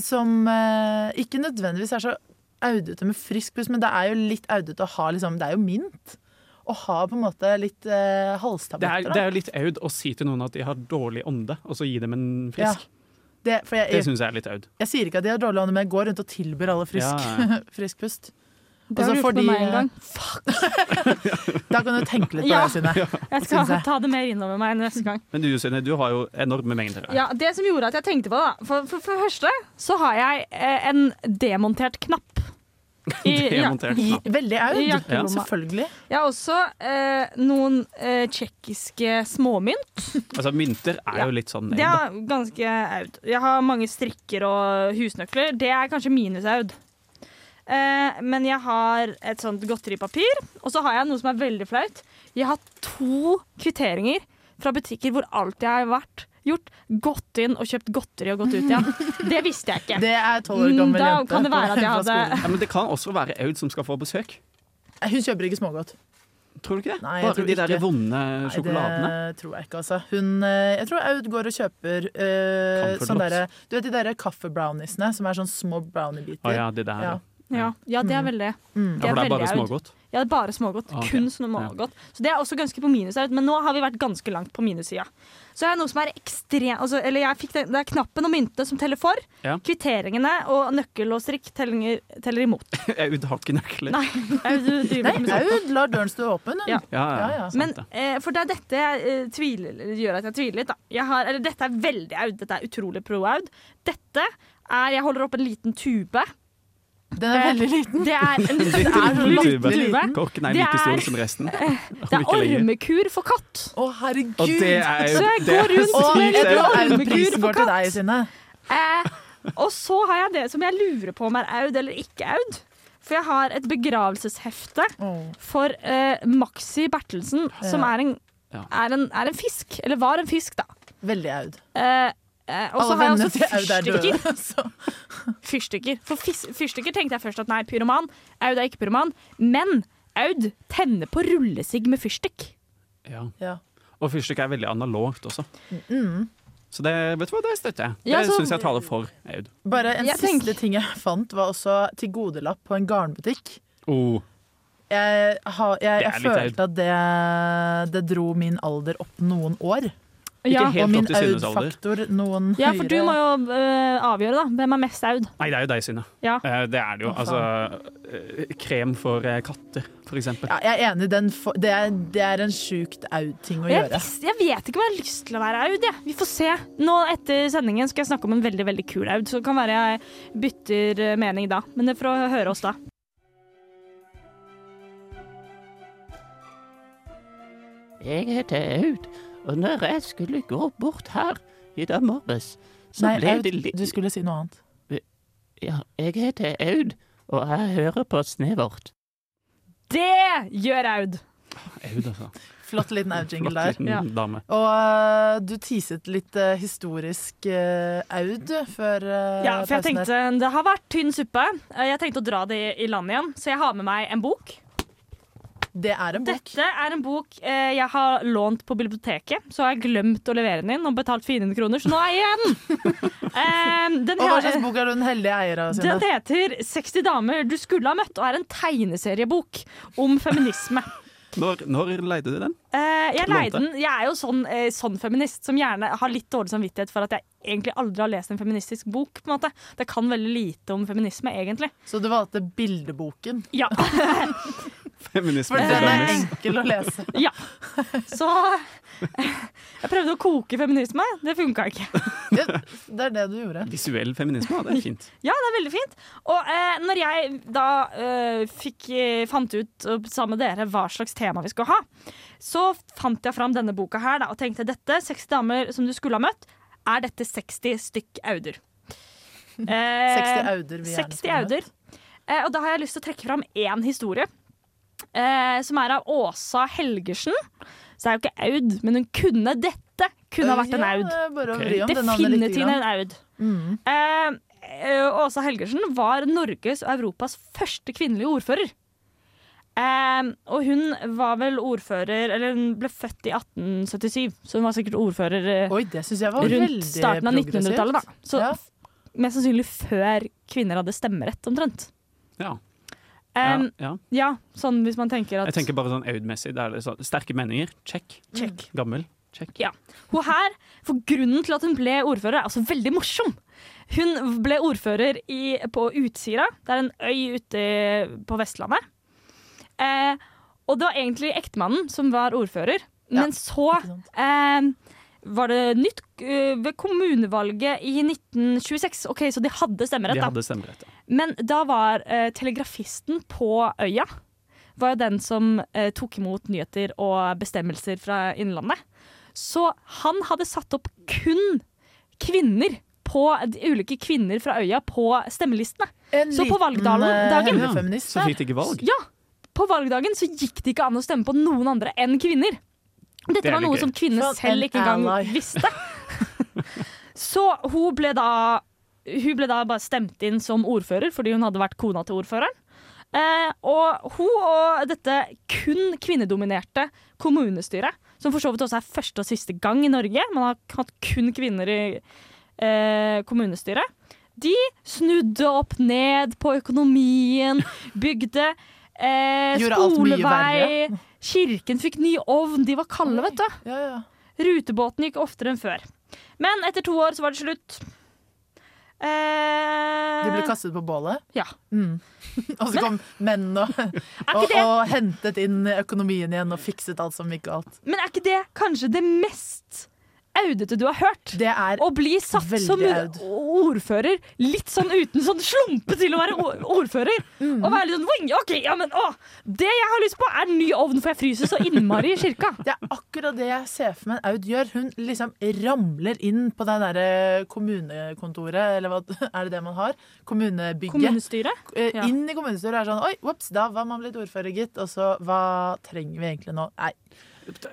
[SPEAKER 7] som eh, ikke nødvendigvis er så audete med frisk pust, men det er jo litt audete å ha liksom, Det er jo mint. Å ha på en måte litt eh,
[SPEAKER 8] Det er,
[SPEAKER 7] halstabletter.
[SPEAKER 8] det
[SPEAKER 7] da.
[SPEAKER 8] er jo litt aud å si til noen at de har dårlig ånde, og så gi dem en
[SPEAKER 7] Ja.
[SPEAKER 8] frisk.
[SPEAKER 7] Det, for jeg,
[SPEAKER 8] Det
[SPEAKER 7] jeg,
[SPEAKER 8] syns jeg er litt aud.
[SPEAKER 7] sier ikke at de har dårlig ånde, men jeg går rundt og tilbyr alle frisk,
[SPEAKER 8] Ja, ja.
[SPEAKER 7] frisk pust.
[SPEAKER 9] Det har
[SPEAKER 7] Altså,
[SPEAKER 9] du gjort
[SPEAKER 7] fordi-
[SPEAKER 9] med meg en gang.
[SPEAKER 7] Da kan du tenke litt på
[SPEAKER 9] Ja.
[SPEAKER 7] det, Synne.
[SPEAKER 9] Jeg
[SPEAKER 7] Syns
[SPEAKER 9] skal
[SPEAKER 7] jeg.
[SPEAKER 9] ta det mer innover meg neste gang.
[SPEAKER 8] Men du Synne, du har jo enorme mengder. her.
[SPEAKER 9] Ja, Det som gjorde at jeg tenkte på det, da For, for, for det første så har jeg eh, en demontert knapp. I, ja,
[SPEAKER 8] Demontert.
[SPEAKER 7] I,
[SPEAKER 8] knapp.
[SPEAKER 7] veldig aud.
[SPEAKER 9] I jakkelomma.
[SPEAKER 7] Selvfølgelig.
[SPEAKER 9] jeg har også eh, noen eh, tsjekkiske småmynt.
[SPEAKER 8] Altså, mynter er jo litt sånn aud.
[SPEAKER 9] Det
[SPEAKER 8] da.
[SPEAKER 9] er ganske aud. Jeg har mange strikker og husnøkler. Det er kanskje minusaud. Eh, men jeg har et sånt godteripapir, og så har jeg noe som er veldig flaut. Jeg har to kvitteringer fra butikker hvor alt jeg har vært gjort, gått inn og kjøpt godteri og gått ut igjen. Det visste jeg ikke.
[SPEAKER 7] Det er tolv år gammel
[SPEAKER 9] Mm, da
[SPEAKER 7] jente.
[SPEAKER 9] kan det være at jeg
[SPEAKER 7] fra
[SPEAKER 9] hadde-
[SPEAKER 7] skolen.
[SPEAKER 8] Ja, men det kan også være aud som skal få besøk.
[SPEAKER 7] Hun kjøper ikke smågodt.
[SPEAKER 8] Tror du ikke det?
[SPEAKER 7] Nei, jeg
[SPEAKER 8] Bare
[SPEAKER 7] tror
[SPEAKER 8] de der
[SPEAKER 7] ikke.
[SPEAKER 8] vonde sjokoladene.
[SPEAKER 7] Nei, det tror jeg ikke, altså. Hun, eh, jeg tror Aud går og kjøper eh,
[SPEAKER 8] Comfort
[SPEAKER 7] sånn
[SPEAKER 8] Lots.
[SPEAKER 7] derre Du vet de derre kaffebrowniesene som er sånn små browniebiter?
[SPEAKER 8] Å ja, de der. Ja.
[SPEAKER 7] Ja.
[SPEAKER 9] Ja, ja det er vel det.
[SPEAKER 7] Mm.
[SPEAKER 9] Det
[SPEAKER 8] Ja, for det er
[SPEAKER 9] veldig
[SPEAKER 8] bare
[SPEAKER 9] out.
[SPEAKER 8] smågodt.
[SPEAKER 9] Ja, det er bare smågodt.
[SPEAKER 8] Ah, ok.
[SPEAKER 9] Kun smågodt. Så det er også ganske på minus, men nå har vi vært ganske langt på minussida. Så jeg har noe som er ekstremt altså, Eller jeg fikk den, det er knappen og myntene som teller for.
[SPEAKER 8] Ja.
[SPEAKER 9] Kvitteringene og nøkkel og strikk teller, teller imot.
[SPEAKER 8] Jeg har ikke nøkler.
[SPEAKER 9] Nei, jeg driver ikke med
[SPEAKER 7] Nei,
[SPEAKER 9] sånt.
[SPEAKER 7] Aud lar døren stå åpen, hun.
[SPEAKER 9] Ja.
[SPEAKER 8] Ja, ja,
[SPEAKER 7] Ja, ja.
[SPEAKER 8] Sant
[SPEAKER 9] Men,
[SPEAKER 8] det.
[SPEAKER 9] eh, for det er dette jeg eh, tviler, eller gjør at jeg tviler litt. Da. Jeg har, eller dette er veldig Aud. Dette er utrolig pro-Aud. Dette er Jeg holder opp en liten tube.
[SPEAKER 7] Den er veldig liten.
[SPEAKER 9] Det er en liten,
[SPEAKER 8] Liten
[SPEAKER 9] det er en
[SPEAKER 8] tube.
[SPEAKER 9] liten tube.
[SPEAKER 8] Kokken er
[SPEAKER 9] Det
[SPEAKER 8] like
[SPEAKER 9] er-
[SPEAKER 8] stor som resten. Om
[SPEAKER 9] Det er
[SPEAKER 8] ikke lenger.
[SPEAKER 9] ormekur for katt.
[SPEAKER 7] Å, herregud!
[SPEAKER 8] Og det er jo
[SPEAKER 9] Så jeg
[SPEAKER 8] det
[SPEAKER 9] går
[SPEAKER 8] er
[SPEAKER 9] rundt
[SPEAKER 8] sykt,
[SPEAKER 7] Og
[SPEAKER 9] med
[SPEAKER 8] det
[SPEAKER 9] litt
[SPEAKER 8] er jo-
[SPEAKER 9] blå-
[SPEAKER 7] Aud-prisen går til deg, Synne.
[SPEAKER 9] Eh, og så har jeg det som jeg lurer på om er Aud eller ikke Aud. For jeg har et begravelseshefte
[SPEAKER 7] Åh.
[SPEAKER 9] for eh, Maxi Bertelsen, som er en,
[SPEAKER 8] Ja.
[SPEAKER 9] er, en, er en fisk. Eller var en fisk, da.
[SPEAKER 7] Veldig Aud.
[SPEAKER 9] Eh, eh, og så
[SPEAKER 7] Alle
[SPEAKER 9] har jeg
[SPEAKER 7] vennene til
[SPEAKER 9] også
[SPEAKER 7] Aud er
[SPEAKER 9] fyrstikker.
[SPEAKER 7] døde. så-
[SPEAKER 9] fyrstikker. For fis- fyrstikker tenkte jeg først at nei, pyroman. Aud er ikke pyroman. Men Aud tenner på rullesigg med fyrstikk.
[SPEAKER 8] Ja.
[SPEAKER 7] Ja.
[SPEAKER 8] Og fyrstikk er veldig analogt også. Så det, vet du hva, det støtter jeg. Det
[SPEAKER 9] Ja, så-
[SPEAKER 8] syns jeg taler for Aud.
[SPEAKER 7] Bare en
[SPEAKER 9] Jeg
[SPEAKER 7] siste
[SPEAKER 9] tenker-
[SPEAKER 7] ting jeg fant, var også tilgodelapp på en garnbutikk.
[SPEAKER 8] Oh,
[SPEAKER 7] Jeg, har, jeg,
[SPEAKER 8] Det er
[SPEAKER 7] jeg
[SPEAKER 8] litt
[SPEAKER 7] følte at det, det dro min alder opp noen år.
[SPEAKER 8] ikke
[SPEAKER 9] Ja.
[SPEAKER 8] helt
[SPEAKER 7] og min
[SPEAKER 8] opp til Synnes alder.
[SPEAKER 7] Aud-faktor noen
[SPEAKER 9] ja, for du må
[SPEAKER 7] høyere.
[SPEAKER 9] jo eh, avgjøre, da. Hvem er mest Aud?
[SPEAKER 8] Nei, det er jo deg, Synne.
[SPEAKER 9] Ja.
[SPEAKER 8] Eh, Det er det jo.
[SPEAKER 7] Å,
[SPEAKER 8] Altså, eh, krem for eh, katter, for eksempel.
[SPEAKER 7] Ja, jeg er enig. Den for, det, er, det er en sjukt Aud-ting å
[SPEAKER 9] Jeg,
[SPEAKER 7] gjøre.
[SPEAKER 9] visste- jeg vet ikke om jeg har lyst til å være Aud. Jeg. Vi får se. Nå Etter sendingen skal jeg snakke om en veldig veldig kul Aud, så det kan være jeg bytter eh, mening da. Men det får å høre oss da.
[SPEAKER 1] Jeg heter Aud, og når jeg skulle gå bort her i dag morges, så
[SPEAKER 7] Nei,
[SPEAKER 1] ble
[SPEAKER 7] Aud,
[SPEAKER 1] det litt
[SPEAKER 7] du skulle si noe annet.
[SPEAKER 1] Ja, jeg heter Aud, og jeg hører på Snevert.
[SPEAKER 9] Det gjør Aud!
[SPEAKER 8] Aud, altså.
[SPEAKER 7] Flott liten Aud-jingle der.
[SPEAKER 8] Flott liten
[SPEAKER 9] Ja.
[SPEAKER 8] dame.
[SPEAKER 7] Og øh, du teaset litt øh, historisk øh, Aud du, før øh,
[SPEAKER 9] Ja, for jeg
[SPEAKER 7] pausen
[SPEAKER 9] tenkte Det har vært tynn suppe. Eh, Jeg tenkte å dra det i- i land igjen, så jeg har med meg en bok.
[SPEAKER 7] her. Det er en bok.
[SPEAKER 9] Dette er en bok eh, jeg har lånt på biblioteket, så har jeg glemt å levere den inn og betalt 400 kroner, så nå eier jeg den! Eh, den
[SPEAKER 7] Og hva
[SPEAKER 9] her-
[SPEAKER 7] slags bok er du den heldige eier av? Synne?
[SPEAKER 9] Den heter 60 damer du skulle ha møtt, og er en tegneseriebok om feminisme.
[SPEAKER 8] Når, når leide du den?
[SPEAKER 9] Eh, jeg,
[SPEAKER 8] Lånte?
[SPEAKER 9] leide den, jeg er jo sånn, eh, sånn feminist som gjerne har litt dårlig samvittighet for at jeg egentlig aldri har lest en feministisk bok. på en måte. Det kan veldig lite om feminisme, egentlig.
[SPEAKER 7] Så du valgte bildeboken.
[SPEAKER 9] Ja,
[SPEAKER 8] Feminisme.
[SPEAKER 7] For den er
[SPEAKER 8] Dennis.
[SPEAKER 7] enkel å lese.
[SPEAKER 9] ja. Så eh, jeg prøvde å koke feminisme. Det funka ikke.
[SPEAKER 7] Det, det er det du gjorde.
[SPEAKER 8] Visuell feminisme, ja, det er fint.
[SPEAKER 9] Ja, det er veldig fint. Og eh, når jeg da eh, fikk, eh, fant ut eh, sammen med dere hva slags tema vi skulle ha, så fant jeg fram denne boka her da, og tenkte dette, 60 damer som du skulle ha møtt, er dette 60 stykk auder. Eh,
[SPEAKER 7] 60 auder. Vi liksom gjerne
[SPEAKER 9] 60
[SPEAKER 7] skulle hatt.
[SPEAKER 9] auder. Eh, og da har jeg lyst til å trekke fram én historie, eh, som er av Åsa Helgersen. Så det er jo ikke Aud, men hun kunne dette. Kunne ha vært en
[SPEAKER 7] Ja,
[SPEAKER 9] Aud.
[SPEAKER 7] det er bare å
[SPEAKER 8] Ok.
[SPEAKER 7] vri om det navnet lite
[SPEAKER 9] Definitivt
[SPEAKER 7] grann.
[SPEAKER 9] en Aud.
[SPEAKER 7] Mm.
[SPEAKER 9] Eh, eh, Åsa Helgersen var Norges og Europas første kvinnelige ordfører. Eh, og hun var vel ordfører Eller hun ble født i 1877, så hun var sikkert ordfører eh,
[SPEAKER 7] Oi, det syns jeg var
[SPEAKER 9] rundt
[SPEAKER 7] veldig
[SPEAKER 9] starten av 1900-tallet. da. Så
[SPEAKER 7] Ja.
[SPEAKER 9] f- mest sannsynlig før kvinner hadde stemmerett, omtrent.
[SPEAKER 8] Ja, ja,
[SPEAKER 9] Eh,
[SPEAKER 8] ja.
[SPEAKER 9] ja, sånn hvis man tenker at
[SPEAKER 8] Jeg tenker bare sånn Aud-messig. Det er litt sånn, sterke meninger, check.
[SPEAKER 9] Check.
[SPEAKER 8] Gammel, check.
[SPEAKER 9] Hun her, for grunnen til at hun ble ordfører, er altså veldig morsom. Hun ble ordfører i, på Utsira. Det er en øy ute på Vestlandet. Eh, og det var egentlig ektemannen som var ordfører.
[SPEAKER 7] Ja,
[SPEAKER 9] Men så
[SPEAKER 7] ikke sant.
[SPEAKER 9] eh, var det nytt eh, ved kommunevalget i 1926. OK, så de hadde
[SPEAKER 8] De
[SPEAKER 9] stemmerett, da.
[SPEAKER 8] hadde stemmerett. ja.
[SPEAKER 9] Men da var eh, telegrafisten på øya var jo den som eh, tok imot nyheter og bestemmelser fra Innlandet. Så han hadde satt opp kun kvinner på de ulike kvinner fra øya på stemmelistene.
[SPEAKER 7] En
[SPEAKER 9] Så
[SPEAKER 7] liten,
[SPEAKER 9] på valgdalen
[SPEAKER 7] eh,
[SPEAKER 9] dagen-
[SPEAKER 8] Ja,
[SPEAKER 7] Feminist,
[SPEAKER 8] Så fikk de ikke valg.
[SPEAKER 9] Ja, På valgdagen så gikk det ikke an å stemme på noen andre enn kvinner.
[SPEAKER 8] Det
[SPEAKER 9] Dette
[SPEAKER 8] er
[SPEAKER 9] var
[SPEAKER 8] litt
[SPEAKER 9] noe
[SPEAKER 8] gøy.
[SPEAKER 9] som kvinnene
[SPEAKER 7] Sånn,
[SPEAKER 9] selv
[SPEAKER 7] an
[SPEAKER 9] ikke engang
[SPEAKER 7] ally.
[SPEAKER 9] visste. Så hun ble da Hun ble da bare stemt inn som ordfører fordi hun hadde vært kona til ordføreren. Eh, og hun og dette kun kvinnedominerte kommunestyret, som for så vidt også er første og siste gang i Norge, man har hatt kun kvinner i eh, kommunestyret, de snudde opp ned på økonomien, bygde eh,
[SPEAKER 7] Gjorde alt mye
[SPEAKER 9] skolevei, kirken fikk ny ovn, de var kalde, vet du.
[SPEAKER 7] Ja, ja.
[SPEAKER 9] Rutebåten gikk oftere enn før. Men etter to år så var det slutt. Eh,
[SPEAKER 7] De ble kastet på bålet,
[SPEAKER 9] Ja.
[SPEAKER 7] Mm. og så kom menn og,
[SPEAKER 9] Er
[SPEAKER 7] og,
[SPEAKER 9] ikke det
[SPEAKER 7] og hentet inn økonomien igjen og fikset alt som gikk galt.
[SPEAKER 9] Men er ikke det kanskje det mest audete du har hørt?
[SPEAKER 7] Det er
[SPEAKER 9] Å bli satt
[SPEAKER 7] Veldig
[SPEAKER 9] som
[SPEAKER 7] aud.
[SPEAKER 9] ordfører litt sånn uten sånn slumpe til å være o- ordfører. Og være litt sånn «Oi, OK, ja, men å! Det jeg har lyst på, er en ny ovn, for jeg fryser så innmari i kirka.
[SPEAKER 7] Det er akkurat det jeg ser for meg en Aud gjør. Hun liksom ramler inn på det derre kommunekontoret, eller hva er det det man har? Kommunebygget.
[SPEAKER 9] Kommunestyret?
[SPEAKER 7] Eh,
[SPEAKER 9] ja.
[SPEAKER 7] Inn i kommunestyret er sånn Oi, whoops, da var man blitt ordfører, gitt. Og så hva trenger vi egentlig nå? Nei.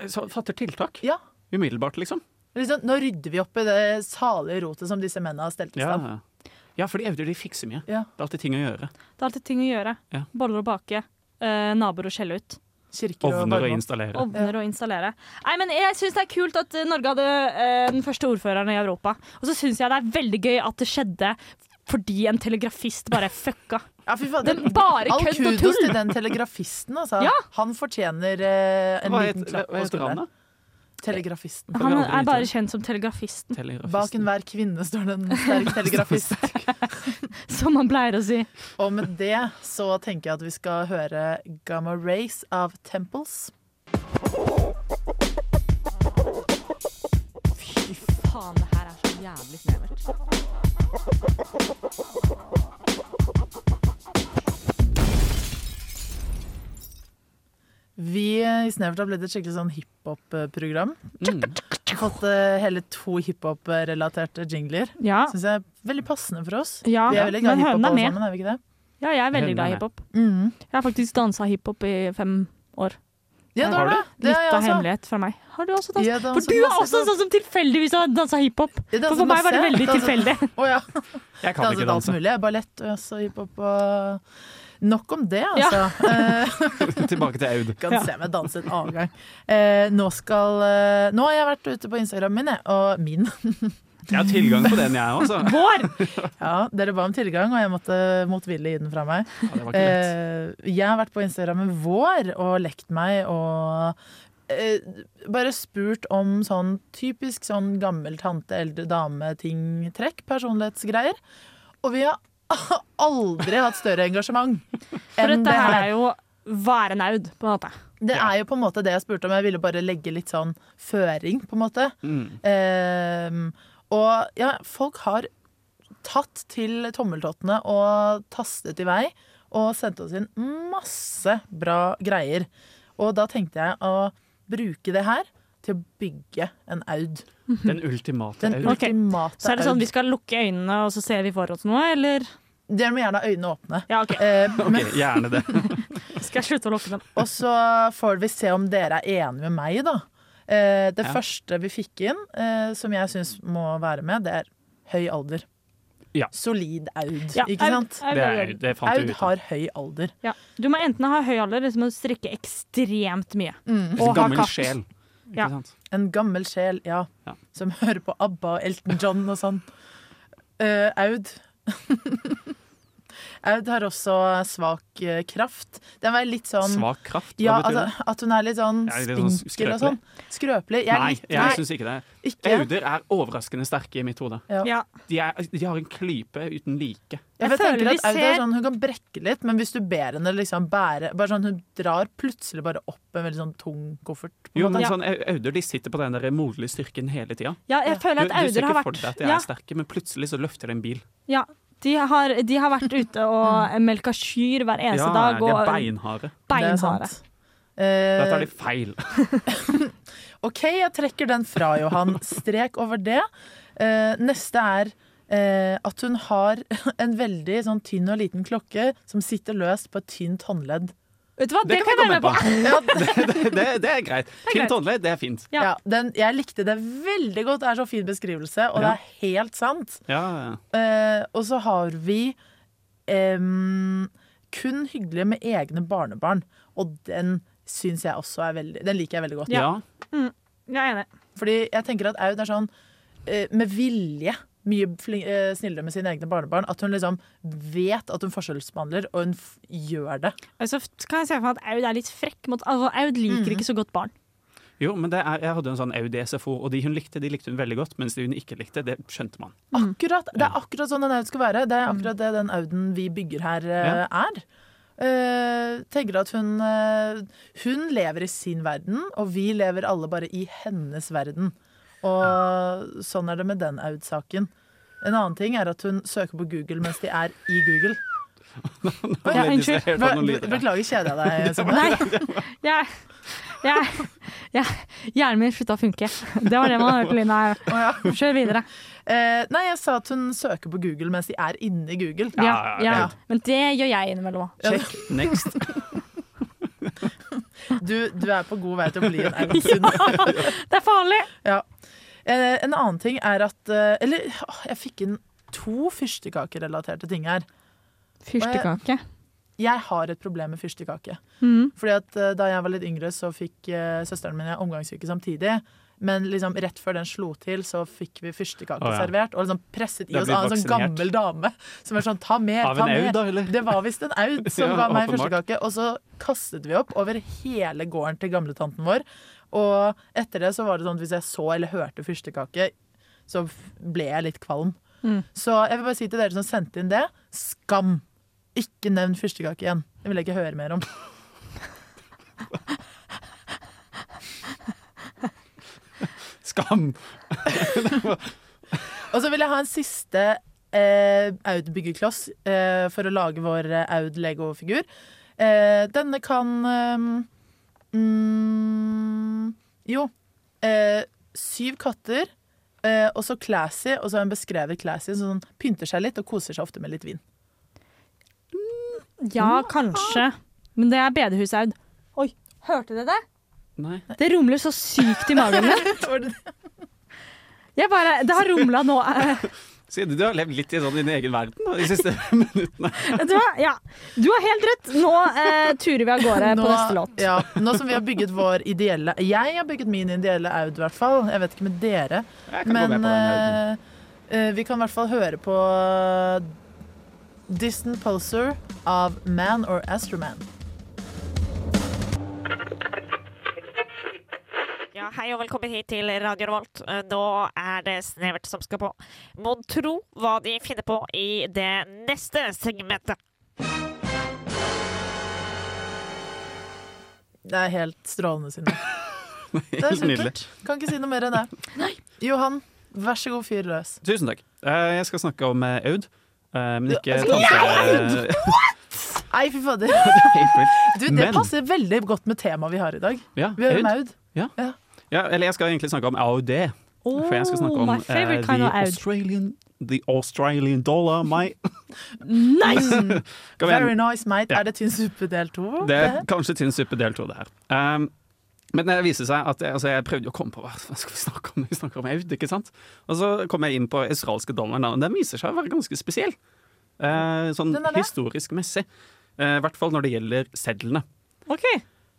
[SPEAKER 8] Så fatter tiltak.
[SPEAKER 7] Ja.
[SPEAKER 8] Umiddelbart, liksom.
[SPEAKER 7] Liksom, nå rydder vi opp i det salige rotet som disse mennene har stelt i stand.
[SPEAKER 8] Ja, ja for de evner de fikser mye.
[SPEAKER 7] Ja.
[SPEAKER 8] Det er alltid ting å gjøre.
[SPEAKER 9] Det er alltid ting å gjøre.
[SPEAKER 8] Ja.
[SPEAKER 9] Boller å bake. eh, naboer å skjelle ut.
[SPEAKER 7] Kirker
[SPEAKER 8] Ovner å
[SPEAKER 7] varmeovn.
[SPEAKER 8] installere.
[SPEAKER 9] Ovner å installere. Nei, men Jeg syns det er kult at eh, Norge hadde eh, den første ordføreren i Europa. Og så syns jeg det er veldig gøy at det skjedde fordi en telegrafist bare fucka.
[SPEAKER 7] Ja, fy faen,
[SPEAKER 9] Det er bare
[SPEAKER 7] All
[SPEAKER 9] kødd og
[SPEAKER 7] kudos til
[SPEAKER 9] tull!
[SPEAKER 7] den telegrafisten, altså.
[SPEAKER 9] Ja.
[SPEAKER 7] Han fortjener eh, en
[SPEAKER 8] Hva het-
[SPEAKER 7] liten klapp
[SPEAKER 8] hva
[SPEAKER 7] på
[SPEAKER 8] heter han, da?
[SPEAKER 7] skulderen. Telegrafisten.
[SPEAKER 9] Han
[SPEAKER 8] aldri
[SPEAKER 9] er
[SPEAKER 8] vite.
[SPEAKER 9] bare kjent som telegrafisten,
[SPEAKER 7] Bak
[SPEAKER 8] Telegrafisten.
[SPEAKER 7] enhver kvinne står det en sterk telegrafist.
[SPEAKER 9] som han pleier å si.
[SPEAKER 7] Og med det så tenker jeg at vi skal høre Gamma Rays av Temples.
[SPEAKER 9] Fy faen, det her er så jævlig snevert.
[SPEAKER 7] Vi i Snevert har blitt et skikkelig sånn hiphop-program.
[SPEAKER 8] Mm.
[SPEAKER 7] Fått eh, hele to hiphop-relaterte jingler.
[SPEAKER 9] Ja,
[SPEAKER 7] Syns jeg er veldig passende for oss.
[SPEAKER 9] Ja,
[SPEAKER 7] vi er veldig glad i
[SPEAKER 9] men
[SPEAKER 7] hiphop
[SPEAKER 9] høna er
[SPEAKER 7] alle
[SPEAKER 9] med.
[SPEAKER 7] sammen, er vi ikke det?
[SPEAKER 9] ja jeg er veldig
[SPEAKER 8] Høna
[SPEAKER 9] glad i
[SPEAKER 8] med.
[SPEAKER 9] hiphop.
[SPEAKER 7] Mm.
[SPEAKER 9] Jeg har faktisk dansa hiphop i fem år.
[SPEAKER 7] Ja, altså. da,
[SPEAKER 8] Har
[SPEAKER 7] da.
[SPEAKER 9] Litt
[SPEAKER 7] Det har jeg
[SPEAKER 9] av
[SPEAKER 7] også.
[SPEAKER 9] hemmelighet fra meg. Har du også dansa?
[SPEAKER 7] Jeg danser
[SPEAKER 9] For du er
[SPEAKER 7] masse
[SPEAKER 9] også en sånn som tilfeldigvis har dansa hiphop.
[SPEAKER 7] Jeg
[SPEAKER 9] For
[SPEAKER 7] danser
[SPEAKER 9] for meg var det
[SPEAKER 7] masse.
[SPEAKER 9] veldig
[SPEAKER 7] Danser-
[SPEAKER 9] tilfeldig.
[SPEAKER 7] altså- Å ja.
[SPEAKER 8] Jeg kan ikke
[SPEAKER 7] Danset alt
[SPEAKER 8] danse.
[SPEAKER 7] mulig. Ballett og også hiphop og Nok om det, altså. Eh,
[SPEAKER 8] Tilbake til Aud.
[SPEAKER 7] kan se meg danse en annen gang. Eh, nå skal eh, Nå har jeg vært ute på Instagram min, jeg. Og min.
[SPEAKER 8] Jeg har tilgang på den, jeg også.
[SPEAKER 9] Vår!
[SPEAKER 7] Ja, dere ba om tilgang, og jeg måtte motvillig gi den fra meg.
[SPEAKER 8] Ja, det var ikke lett.
[SPEAKER 7] Eh, jeg har vært på Instagrammen vår og lekt meg og eh, bare spurt om sånn typisk sånn gammel tante, eldre dame, ting, trekk, personlighetsgreier. Og vi har aldri hatt større engasjement
[SPEAKER 9] For
[SPEAKER 7] enn
[SPEAKER 9] dette
[SPEAKER 7] det
[SPEAKER 9] her
[SPEAKER 7] her.
[SPEAKER 9] er jo være naud, på en måte.
[SPEAKER 7] Det er jo på en måte det jeg spurte om. Jeg ville bare legge litt sånn føring, på en måte.
[SPEAKER 8] Mm.
[SPEAKER 7] Ehm, og ja, folk har tatt til tommeltottene og tastet i vei og sendt oss inn masse bra greier. Og da tenkte jeg å bruke det her til å bygge en aud.
[SPEAKER 8] Den ultimate
[SPEAKER 7] Den
[SPEAKER 8] Aud.
[SPEAKER 9] Ok.
[SPEAKER 7] ultimate
[SPEAKER 9] Så er det
[SPEAKER 7] aud.
[SPEAKER 9] sånn vi skal lukke øynene, og så ser vi for oss noe, eller?
[SPEAKER 7] Dere må gjerne ha øynene åpne.
[SPEAKER 9] Ja, OK.
[SPEAKER 7] Eh, men,
[SPEAKER 8] Ok, gjerne det.
[SPEAKER 9] Skal jeg slutte å lukke dem?
[SPEAKER 7] og så får vi se om dere er enige med meg, da. Eh, det
[SPEAKER 8] Ja.
[SPEAKER 7] første vi fikk inn, eh, som jeg syns må være med, det er høy alder.
[SPEAKER 8] Ja.
[SPEAKER 7] Solid aud,
[SPEAKER 9] Ja,
[SPEAKER 7] ikke
[SPEAKER 9] Aud-
[SPEAKER 7] sant?
[SPEAKER 9] Aud
[SPEAKER 8] Det,
[SPEAKER 9] er
[SPEAKER 8] er,
[SPEAKER 9] Aud.
[SPEAKER 8] det fant
[SPEAKER 7] Aud
[SPEAKER 8] jeg ut av.
[SPEAKER 7] har høy alder.
[SPEAKER 9] Ja. Du må enten ha høy alder, liksom å strikke ekstremt mye.
[SPEAKER 8] En
[SPEAKER 9] Og ha
[SPEAKER 8] Altså, Gammel
[SPEAKER 9] katt.
[SPEAKER 8] sjel.
[SPEAKER 9] Ja.
[SPEAKER 8] Ikke sant?
[SPEAKER 7] En gammel sjel, ja.
[SPEAKER 8] Ja.
[SPEAKER 7] Som hører på ABBA og Elton John og sånn. Eh, Aud. Aud har også svak eh, kraft. Den var litt sånn
[SPEAKER 8] Svak kraft, hva
[SPEAKER 7] Ja,
[SPEAKER 8] betyr
[SPEAKER 7] altså, at hun er litt sånn
[SPEAKER 8] Ja, litt sånn
[SPEAKER 7] spinkel og sånn. Skrøpelig.
[SPEAKER 8] det?
[SPEAKER 7] Jeg er
[SPEAKER 8] Nei,
[SPEAKER 7] litt
[SPEAKER 8] jeg syns ikke det.
[SPEAKER 7] ikke.
[SPEAKER 8] Auder er overraskende sterke i mitt hode.
[SPEAKER 9] Ja.
[SPEAKER 8] De, er, de har en klype uten like.
[SPEAKER 7] Ja, for
[SPEAKER 9] Jeg
[SPEAKER 7] jeg tenker
[SPEAKER 9] føler
[SPEAKER 7] at
[SPEAKER 9] vi
[SPEAKER 7] Aud er
[SPEAKER 9] ser-
[SPEAKER 7] sånn, Hun kan brekke litt, men hvis du ber henne liksom bære bare sånn, Hun drar plutselig bare opp en veldig sånn tung koffert. på en
[SPEAKER 8] Jo,
[SPEAKER 7] måte.
[SPEAKER 8] men
[SPEAKER 9] Ja.
[SPEAKER 8] sånn, Au- Auder de sitter på den der moderlige styrken hele tida.
[SPEAKER 9] ja, jeg
[SPEAKER 8] Du,
[SPEAKER 9] føler
[SPEAKER 8] du
[SPEAKER 9] at Auder
[SPEAKER 8] ser
[SPEAKER 9] har
[SPEAKER 8] ikke for
[SPEAKER 9] vært
[SPEAKER 8] deg at de
[SPEAKER 9] ja,
[SPEAKER 8] er sterke, men plutselig så løfter de en bil.
[SPEAKER 9] ja, de, har, de har vært ute og melka kyr hver eneste
[SPEAKER 8] Ja,
[SPEAKER 9] dag.
[SPEAKER 8] de
[SPEAKER 9] Og
[SPEAKER 8] er
[SPEAKER 7] Det
[SPEAKER 8] beinharde.
[SPEAKER 7] er sant.
[SPEAKER 9] beinharde.
[SPEAKER 7] Eh,
[SPEAKER 8] Da tar de feil.
[SPEAKER 7] OK, jeg trekker den fra, Johan. Strek over det. Eh, neste er eh, at hun har en veldig sånn tynn og liten klokke som sitter løst på et tynt håndledd.
[SPEAKER 9] Vet du hva, det, kan jeg
[SPEAKER 8] vi
[SPEAKER 9] være med på!
[SPEAKER 7] Ja,
[SPEAKER 8] Det, det, det, det er greit.
[SPEAKER 9] greit.
[SPEAKER 8] Tynt håndledd, det er fint.
[SPEAKER 9] Ja.
[SPEAKER 7] ja, den, jeg likte det veldig godt. Det er så fin beskrivelse, og det
[SPEAKER 8] Ja.
[SPEAKER 7] er helt sant.
[SPEAKER 8] Ja,
[SPEAKER 7] Eh, og så har vi em, kun hyggelige med egne barnebarn. Og den syns jeg også er veldig Den liker jeg veldig godt.
[SPEAKER 8] Ja.
[SPEAKER 9] Jeg er enig.
[SPEAKER 7] Fordi jeg tenker at Aud er sånn eh, med vilje mye flin- eh, snillere med sine egne barnebarn. At hun liksom vet at hun forskjellsbehandler, og hun f gjør det.
[SPEAKER 9] Og Så kan jeg se for meg at Aud er litt frekk mot altså, Aud liker ikke så godt barn.
[SPEAKER 8] Jo, men det er, jeg hadde en sånn Audi SFO, og de hun likte, de likte hun veldig godt. Mens de hun ikke likte, det skjønte man.
[SPEAKER 7] Akkurat, Det er akkurat sånn den Aud skal være. Det er akkurat det den Auden vi bygger her, eh, er. Eh, tenker at hun eh, Hun lever i sin verden, og vi lever alle bare i hennes verden. Og sånn er det med den Aud-saken. En annen ting er at hun søker på Google mens de er i Google.
[SPEAKER 8] Nå ble jeg
[SPEAKER 9] unnskyld.
[SPEAKER 8] distrahert av
[SPEAKER 7] Be
[SPEAKER 8] noen
[SPEAKER 7] be-
[SPEAKER 8] lyder.
[SPEAKER 7] beklager, kjeder jeg deg? Simon?
[SPEAKER 9] Nei, jeg, jeg, jeg, hjernen min slutta å funke. Det var det man hørte lyden av. Kjør videre.
[SPEAKER 7] Eh, nei, jeg sa at hun søker på Google mens de er inne i Google.
[SPEAKER 9] Ja,
[SPEAKER 8] ja,
[SPEAKER 9] ja. Men det gjør jeg innimellom òg.
[SPEAKER 8] Check. Next.
[SPEAKER 7] Du, du er på god vei til å bli en Aud Sund.
[SPEAKER 9] Det er farlig!
[SPEAKER 7] Ja. Eh, En annen ting er at eh, Eller åh, jeg fikk inn to fyrstekakerelaterte ting her.
[SPEAKER 9] Fyrstekake.
[SPEAKER 7] Jeg har et problem med fyrstekake.
[SPEAKER 9] Mm.
[SPEAKER 8] Mm.
[SPEAKER 7] Fordi at eh, Da jeg var litt yngre, så fikk eh, søsteren min og jeg omgangssyke samtidig. Men liksom rett før den slo til, så fikk vi fyrstekake
[SPEAKER 8] Å, ja.
[SPEAKER 7] servert. Og liksom presset i
[SPEAKER 8] Det
[SPEAKER 7] oss
[SPEAKER 8] blir
[SPEAKER 7] av en sånn
[SPEAKER 8] vaksinert.
[SPEAKER 7] gammel dame som var sånn 'ta mer',
[SPEAKER 8] Av
[SPEAKER 7] ta
[SPEAKER 8] en Aud,
[SPEAKER 7] mer.
[SPEAKER 8] da, eller?
[SPEAKER 7] Det var visst en Aud som
[SPEAKER 8] Ja,
[SPEAKER 7] ga meg
[SPEAKER 8] åpenbart.
[SPEAKER 7] fyrstekake. Og så kastet vi opp over hele gården til gamletanten vår. Og etter det så var det sånn at hvis jeg så eller hørte fyrstekake, så f- ble jeg litt kvalm.
[SPEAKER 8] Mm.
[SPEAKER 7] Så jeg vil bare si til dere som sendte inn det, skam! Ikke nevn fyrstekake igjen. Det vil jeg ikke høre mer om.
[SPEAKER 8] Skam!
[SPEAKER 7] Og så vil jeg ha en siste eh, Aud-byggekloss eh, for å lage vår eh, Aud-legofigur. Eh, denne kan eh, mm, Jo. Eh, syv katter, eh, og så Classy, og så en beskrevet Classy som pynter seg litt og koser seg ofte med litt vin.
[SPEAKER 9] Ja, kanskje. Men det er bedehusaud. Oi, hørte dere det?
[SPEAKER 8] Nei.
[SPEAKER 9] Det rumler så sykt i magen min. Jeg bare, det har rumla nå. eh,
[SPEAKER 8] Siden du har levd litt i sånn din egen verden da, de siste minuttene.
[SPEAKER 9] Vet du hva? Ja, du har helt rett. Nå eh, turer vi av gårde på neste låt.
[SPEAKER 7] Ja, nå som vi har bygget vår ideelle Jeg har bygget min ideelle Aud, i hvert fall. Jeg vet ikke med dere.
[SPEAKER 8] Jeg kan gå
[SPEAKER 7] Men
[SPEAKER 8] med på den. Auden.
[SPEAKER 7] eh, eh, vi kan i hvert fall høre på eh, Distant Poser av Man or Astroman.
[SPEAKER 10] Ja, hei og velkommen hit til Radio Revolt. Eh, Nå er det Snevert som skal på. Mon tro hva de finner på i det neste segmentet.
[SPEAKER 7] Det er helt strålende, Synne. Det er
[SPEAKER 8] Helt nydelig.
[SPEAKER 7] supert. Kan ikke si noe mer enn det. Johan, vær så god, fyr løs.
[SPEAKER 8] Tusen takk. Eh, Jeg skal snakke om eh, Aud, eh, men ikke eh,
[SPEAKER 7] Ja,
[SPEAKER 8] tante
[SPEAKER 7] Nei, fy fader. Du, det
[SPEAKER 8] Men-
[SPEAKER 7] passer veldig godt med temaet vi har i dag.
[SPEAKER 8] Ja,
[SPEAKER 7] Vi har
[SPEAKER 8] Aud.
[SPEAKER 7] om Aud.
[SPEAKER 8] Ja, eller jeg skal egentlig snakke om AOD. For jeg skal snakke om
[SPEAKER 9] Oh, my favorite
[SPEAKER 8] eh,
[SPEAKER 9] kind
[SPEAKER 8] the,
[SPEAKER 9] of Aud.
[SPEAKER 8] Australian, the Australian dollar, my
[SPEAKER 9] Nice!
[SPEAKER 8] Kom igjen.
[SPEAKER 7] Mm. Very nice, mate.
[SPEAKER 8] Ja.
[SPEAKER 7] Er det Tynn suppe del to?
[SPEAKER 8] Det er kanskje tynn suppe del to, det her. Um, men det viser seg at jeg, altså jeg prøvde å komme på hva hva skal vi snakke om. Vi snakker om Aud, ikke sant? Og så kom jeg inn på australske dollaren, da, og den viser seg å være ganske spesiell. Eh, sånn
[SPEAKER 7] Den er det.
[SPEAKER 8] historisk messig. Eh, I hvert fall når det gjelder sedlene.
[SPEAKER 9] Ok,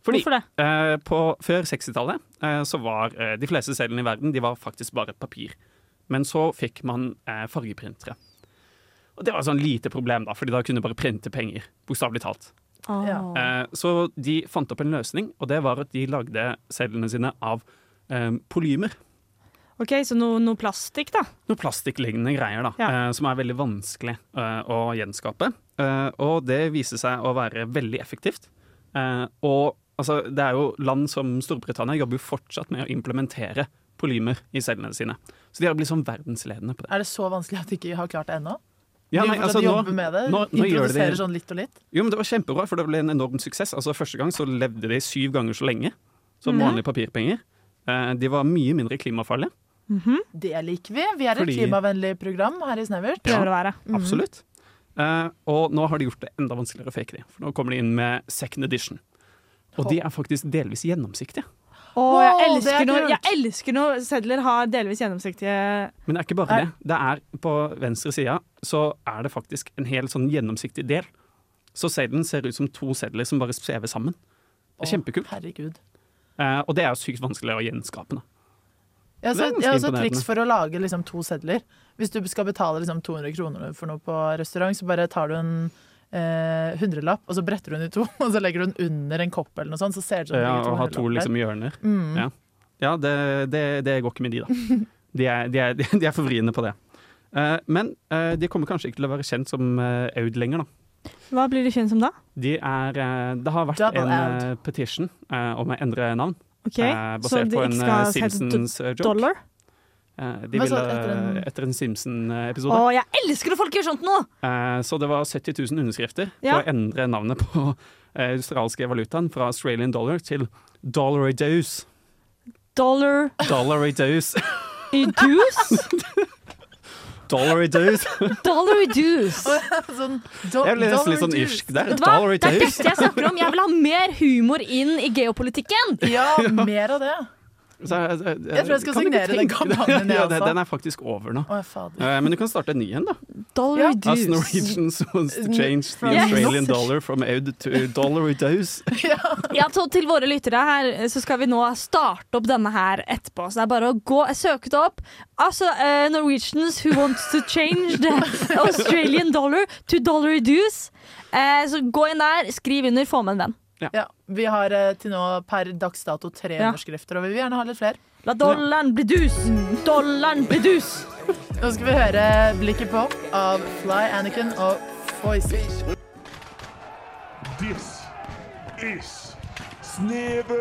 [SPEAKER 8] Fordi
[SPEAKER 9] Hvorfor det?
[SPEAKER 8] eh, på, før 60-tallet eh, så var eh, de fleste sedlene i verden de var faktisk bare papir. Men så fikk man eh, fargeprintere. Og det var et sånn lite problem, da, fordi da kunne du bare printe penger. Bokstavelig talt.
[SPEAKER 7] Ja.
[SPEAKER 9] Åh.
[SPEAKER 8] Eh, så de fant opp en løsning, og det var at de lagde sedlene sine av eh, polymer.
[SPEAKER 9] Ok, så noe, noe plastikk, da.
[SPEAKER 8] Noe plastikklignende greier da,
[SPEAKER 9] Ja.
[SPEAKER 8] eh, som er veldig vanskelig eh, å gjenskape. Eh, og det viser seg å være veldig effektivt. Eh, og altså, det er jo land som Storbritannia jobber jo fortsatt med å implementere polymer i sedlene sine. Så de har blitt sånn verdensledende på det.
[SPEAKER 7] Er det så vanskelig at de ikke har klart det ennå?
[SPEAKER 8] Ja,
[SPEAKER 7] de
[SPEAKER 8] nei,
[SPEAKER 7] fortsatt
[SPEAKER 8] altså, nå-
[SPEAKER 7] jobber med det?
[SPEAKER 8] nå, nå gjør de,
[SPEAKER 7] Introduserer sånn litt og litt?
[SPEAKER 8] jo, men det var kjempebra, for det ble en enorm suksess. Altså, første gang så levde de syv ganger så lenge som vanlige papirpenger. Eh, de var mye mindre klimafarlige.
[SPEAKER 7] Det liker vi. Vi er et
[SPEAKER 8] Fordi-
[SPEAKER 7] klimavennlig program her i Snevert.
[SPEAKER 9] Prøver å være. Mhm.
[SPEAKER 8] Absolutt. Eh, og nå har de gjort det enda vanskeligere å fake de. For nå kommer de inn med second edition. Og de er faktisk delvis gjennomsiktige.
[SPEAKER 9] Åh, jeg,
[SPEAKER 7] Åh, det er
[SPEAKER 9] elsker når,
[SPEAKER 7] kult.
[SPEAKER 9] jeg elsker når sedler har delvis gjennomsiktige
[SPEAKER 8] Men det er ikke bare det. Det er På venstre sida så er det faktisk en hel sånn gjennomsiktig del Så seddelen ser ut som to sedler som bare svever sammen. Det er kjempekult.
[SPEAKER 7] Herregud.
[SPEAKER 8] Eh, og det er jo sykt vanskelig å gjenskape. da.
[SPEAKER 7] Ja, så,
[SPEAKER 8] Det er ganske
[SPEAKER 7] ja, så
[SPEAKER 8] imponerende.
[SPEAKER 7] triks for å lage liksom, to sedler. Hvis du skal betale liksom, 200 kroner for noe på restaurant, så bare tar du en eh, hundrelapp, og så bretter du den i to, og så legger du den under en kopp eller noe sånt, så ser det ut som det
[SPEAKER 8] Ja,
[SPEAKER 7] ligger
[SPEAKER 8] og ha
[SPEAKER 7] hundrelapper
[SPEAKER 8] to
[SPEAKER 7] der.
[SPEAKER 8] liksom hjørner.
[SPEAKER 7] Mm.
[SPEAKER 8] Ja. Ja, det, det, det går ikke med de, da. De er, de er, de er for vriene på det. Eh, men eh, de kommer kanskje ikke til å være kjent som eh, Aud lenger, da.
[SPEAKER 9] Hva blir det kjent som da?
[SPEAKER 8] De er, eh, det har vært
[SPEAKER 7] Double
[SPEAKER 8] en
[SPEAKER 7] Aud.
[SPEAKER 8] eh, petition eh, om å endre navn,
[SPEAKER 9] Ok,
[SPEAKER 8] eh, basert på en eh, Simpsons-joke.
[SPEAKER 9] dollar?
[SPEAKER 8] de
[SPEAKER 7] Men så
[SPEAKER 8] ville eh,
[SPEAKER 7] etter
[SPEAKER 8] etter en,
[SPEAKER 7] en-
[SPEAKER 9] Å,
[SPEAKER 8] Simpson-episode.
[SPEAKER 9] jeg elsker når folk gjør sånt nå!
[SPEAKER 8] Eh, så det var 70 000 underskrifter på
[SPEAKER 9] Ja.
[SPEAKER 8] å endre navnet på eh, australske valutaen fra Australian dollar til dollar a dose.
[SPEAKER 9] Dollar
[SPEAKER 8] Dollar a dose.
[SPEAKER 9] i juice?
[SPEAKER 8] Dollar a dose.
[SPEAKER 9] Dollar i juice!
[SPEAKER 7] sånn, do,
[SPEAKER 8] Jeg ble nesten
[SPEAKER 7] dollar
[SPEAKER 8] litt sånn
[SPEAKER 7] juice.
[SPEAKER 8] irsk der.
[SPEAKER 9] Vet du hva?
[SPEAKER 8] Dollar a
[SPEAKER 9] Det er
[SPEAKER 8] dose.
[SPEAKER 9] dette jeg snakker om! Jeg vil ha mer humor inn i geopolitikken!
[SPEAKER 7] Ja, mer av det.
[SPEAKER 8] Så jeg, jeg,
[SPEAKER 7] Jeg tror jeg skal
[SPEAKER 8] kan du ikke
[SPEAKER 7] signere den
[SPEAKER 8] tenke deg-
[SPEAKER 7] kampanjen, jeg
[SPEAKER 8] ja, den,
[SPEAKER 7] også.
[SPEAKER 8] den er faktisk over nå.
[SPEAKER 7] Å, fader.
[SPEAKER 8] Eh, men du kan starte en ny en, da.
[SPEAKER 9] Dollar
[SPEAKER 7] Ja.
[SPEAKER 9] i
[SPEAKER 8] As
[SPEAKER 9] juice.
[SPEAKER 8] Norwegians wants to change the
[SPEAKER 9] Yes.
[SPEAKER 8] Australian dollar from aud to dollar a dose.
[SPEAKER 9] Ja, så til våre lyttere her, så skal vi nå starte opp denne her etterpå. Så det er bare å gå søke det opp. Altså, eh, Norwegians who wants to change the Australian dollar to dollar dues. Eh, så gå inn der, skriv under, få med en venn.
[SPEAKER 7] Ja, vi har eh, til nå per dags dato tre
[SPEAKER 9] Ja.
[SPEAKER 7] underskrifter, og vi vil gjerne ha litt flere.
[SPEAKER 9] La dollaren bli dus! Dollaren bli dus!
[SPEAKER 7] Nå skal vi høre 'Blikket på' av Fly Anakin og Foyce.
[SPEAKER 3] This is Snevert!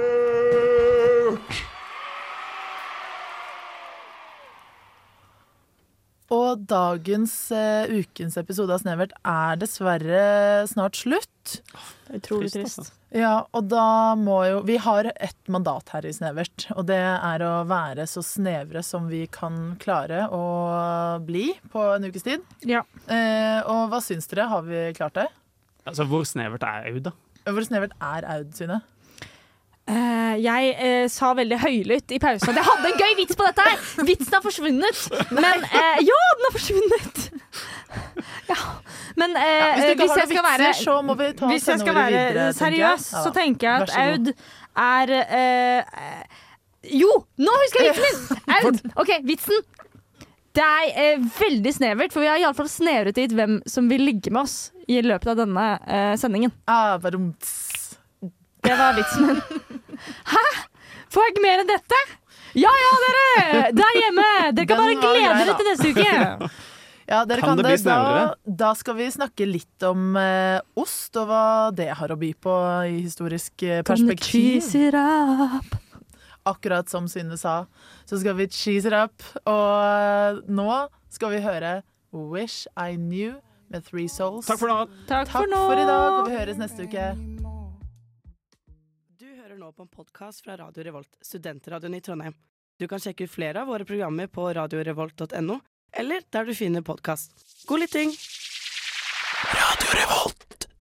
[SPEAKER 7] Og dagens eh, ukens episode av Snevert er dessverre snart slutt.
[SPEAKER 9] Utrolig
[SPEAKER 8] Trist,
[SPEAKER 9] trist.
[SPEAKER 7] Ja, og da må jo Vi har ett mandat her i Snevert, og det er å være så snevre som vi kan klare å bli på en ukes tid.
[SPEAKER 9] Ja.
[SPEAKER 7] Eh, og hva syns dere? Har vi klart det?
[SPEAKER 8] Altså, hvor snevert er aud, da?
[SPEAKER 7] Hvor snevert er Aud sine?
[SPEAKER 9] Eh, jeg eh, sa veldig høylytt i pausen at jeg hadde en gøy vits på dette her! Vitsen har forsvunnet! Men eh, Ja, den har forsvunnet! Ja. Men eh,
[SPEAKER 7] Hvis du ikke har noen
[SPEAKER 9] hvis jeg skal
[SPEAKER 7] vitser,
[SPEAKER 9] være
[SPEAKER 7] så må vi ta
[SPEAKER 9] Hvis jeg skal
[SPEAKER 7] sendeordet
[SPEAKER 9] være
[SPEAKER 7] videre, tenker jeg.
[SPEAKER 9] seriøs, så
[SPEAKER 7] Ja.
[SPEAKER 9] tenker jeg
[SPEAKER 7] Vær
[SPEAKER 9] at
[SPEAKER 7] så
[SPEAKER 9] Aud er eh, Jo, nå husker jeg vitsen min! Aud! OK, vitsen. Det er eh, veldig snevert, for vi har iallfall snevret dit hvem som vil ligge med oss i løpet av denne eh, sendingen.
[SPEAKER 7] Ah, varumts.
[SPEAKER 9] Det var vitsen min. Hæ? Får jeg ikke mer enn dette? Ja ja, dere! Der hjemme! Dere kan bare
[SPEAKER 7] Den var
[SPEAKER 9] glede
[SPEAKER 7] grei,
[SPEAKER 9] dere
[SPEAKER 7] da.
[SPEAKER 9] til neste uke.
[SPEAKER 7] Ja, dere
[SPEAKER 8] Kan
[SPEAKER 7] kan,
[SPEAKER 8] det
[SPEAKER 7] det.
[SPEAKER 8] bli snevere?
[SPEAKER 7] Da, da skal vi snakke litt om eh, ost, og hva det har å by på i historisk eh, perspektiv.
[SPEAKER 9] Cheese it up.
[SPEAKER 7] Akkurat som Synne sa, så skal vi cheese it up. Og eh, nå skal vi høre Wish I Knew med Three Souls.
[SPEAKER 8] Takk for nå.
[SPEAKER 9] Takk,
[SPEAKER 7] Takk for i dag, og vi høres neste uke.
[SPEAKER 11] Du hører nå på en podkast fra Radio Revolt, studentradioen i Trondheim. Du kan sjekke ut flere av våre programmer på radiorevolt.no, eller der du finner podkast. God lytting! Radio Revolt!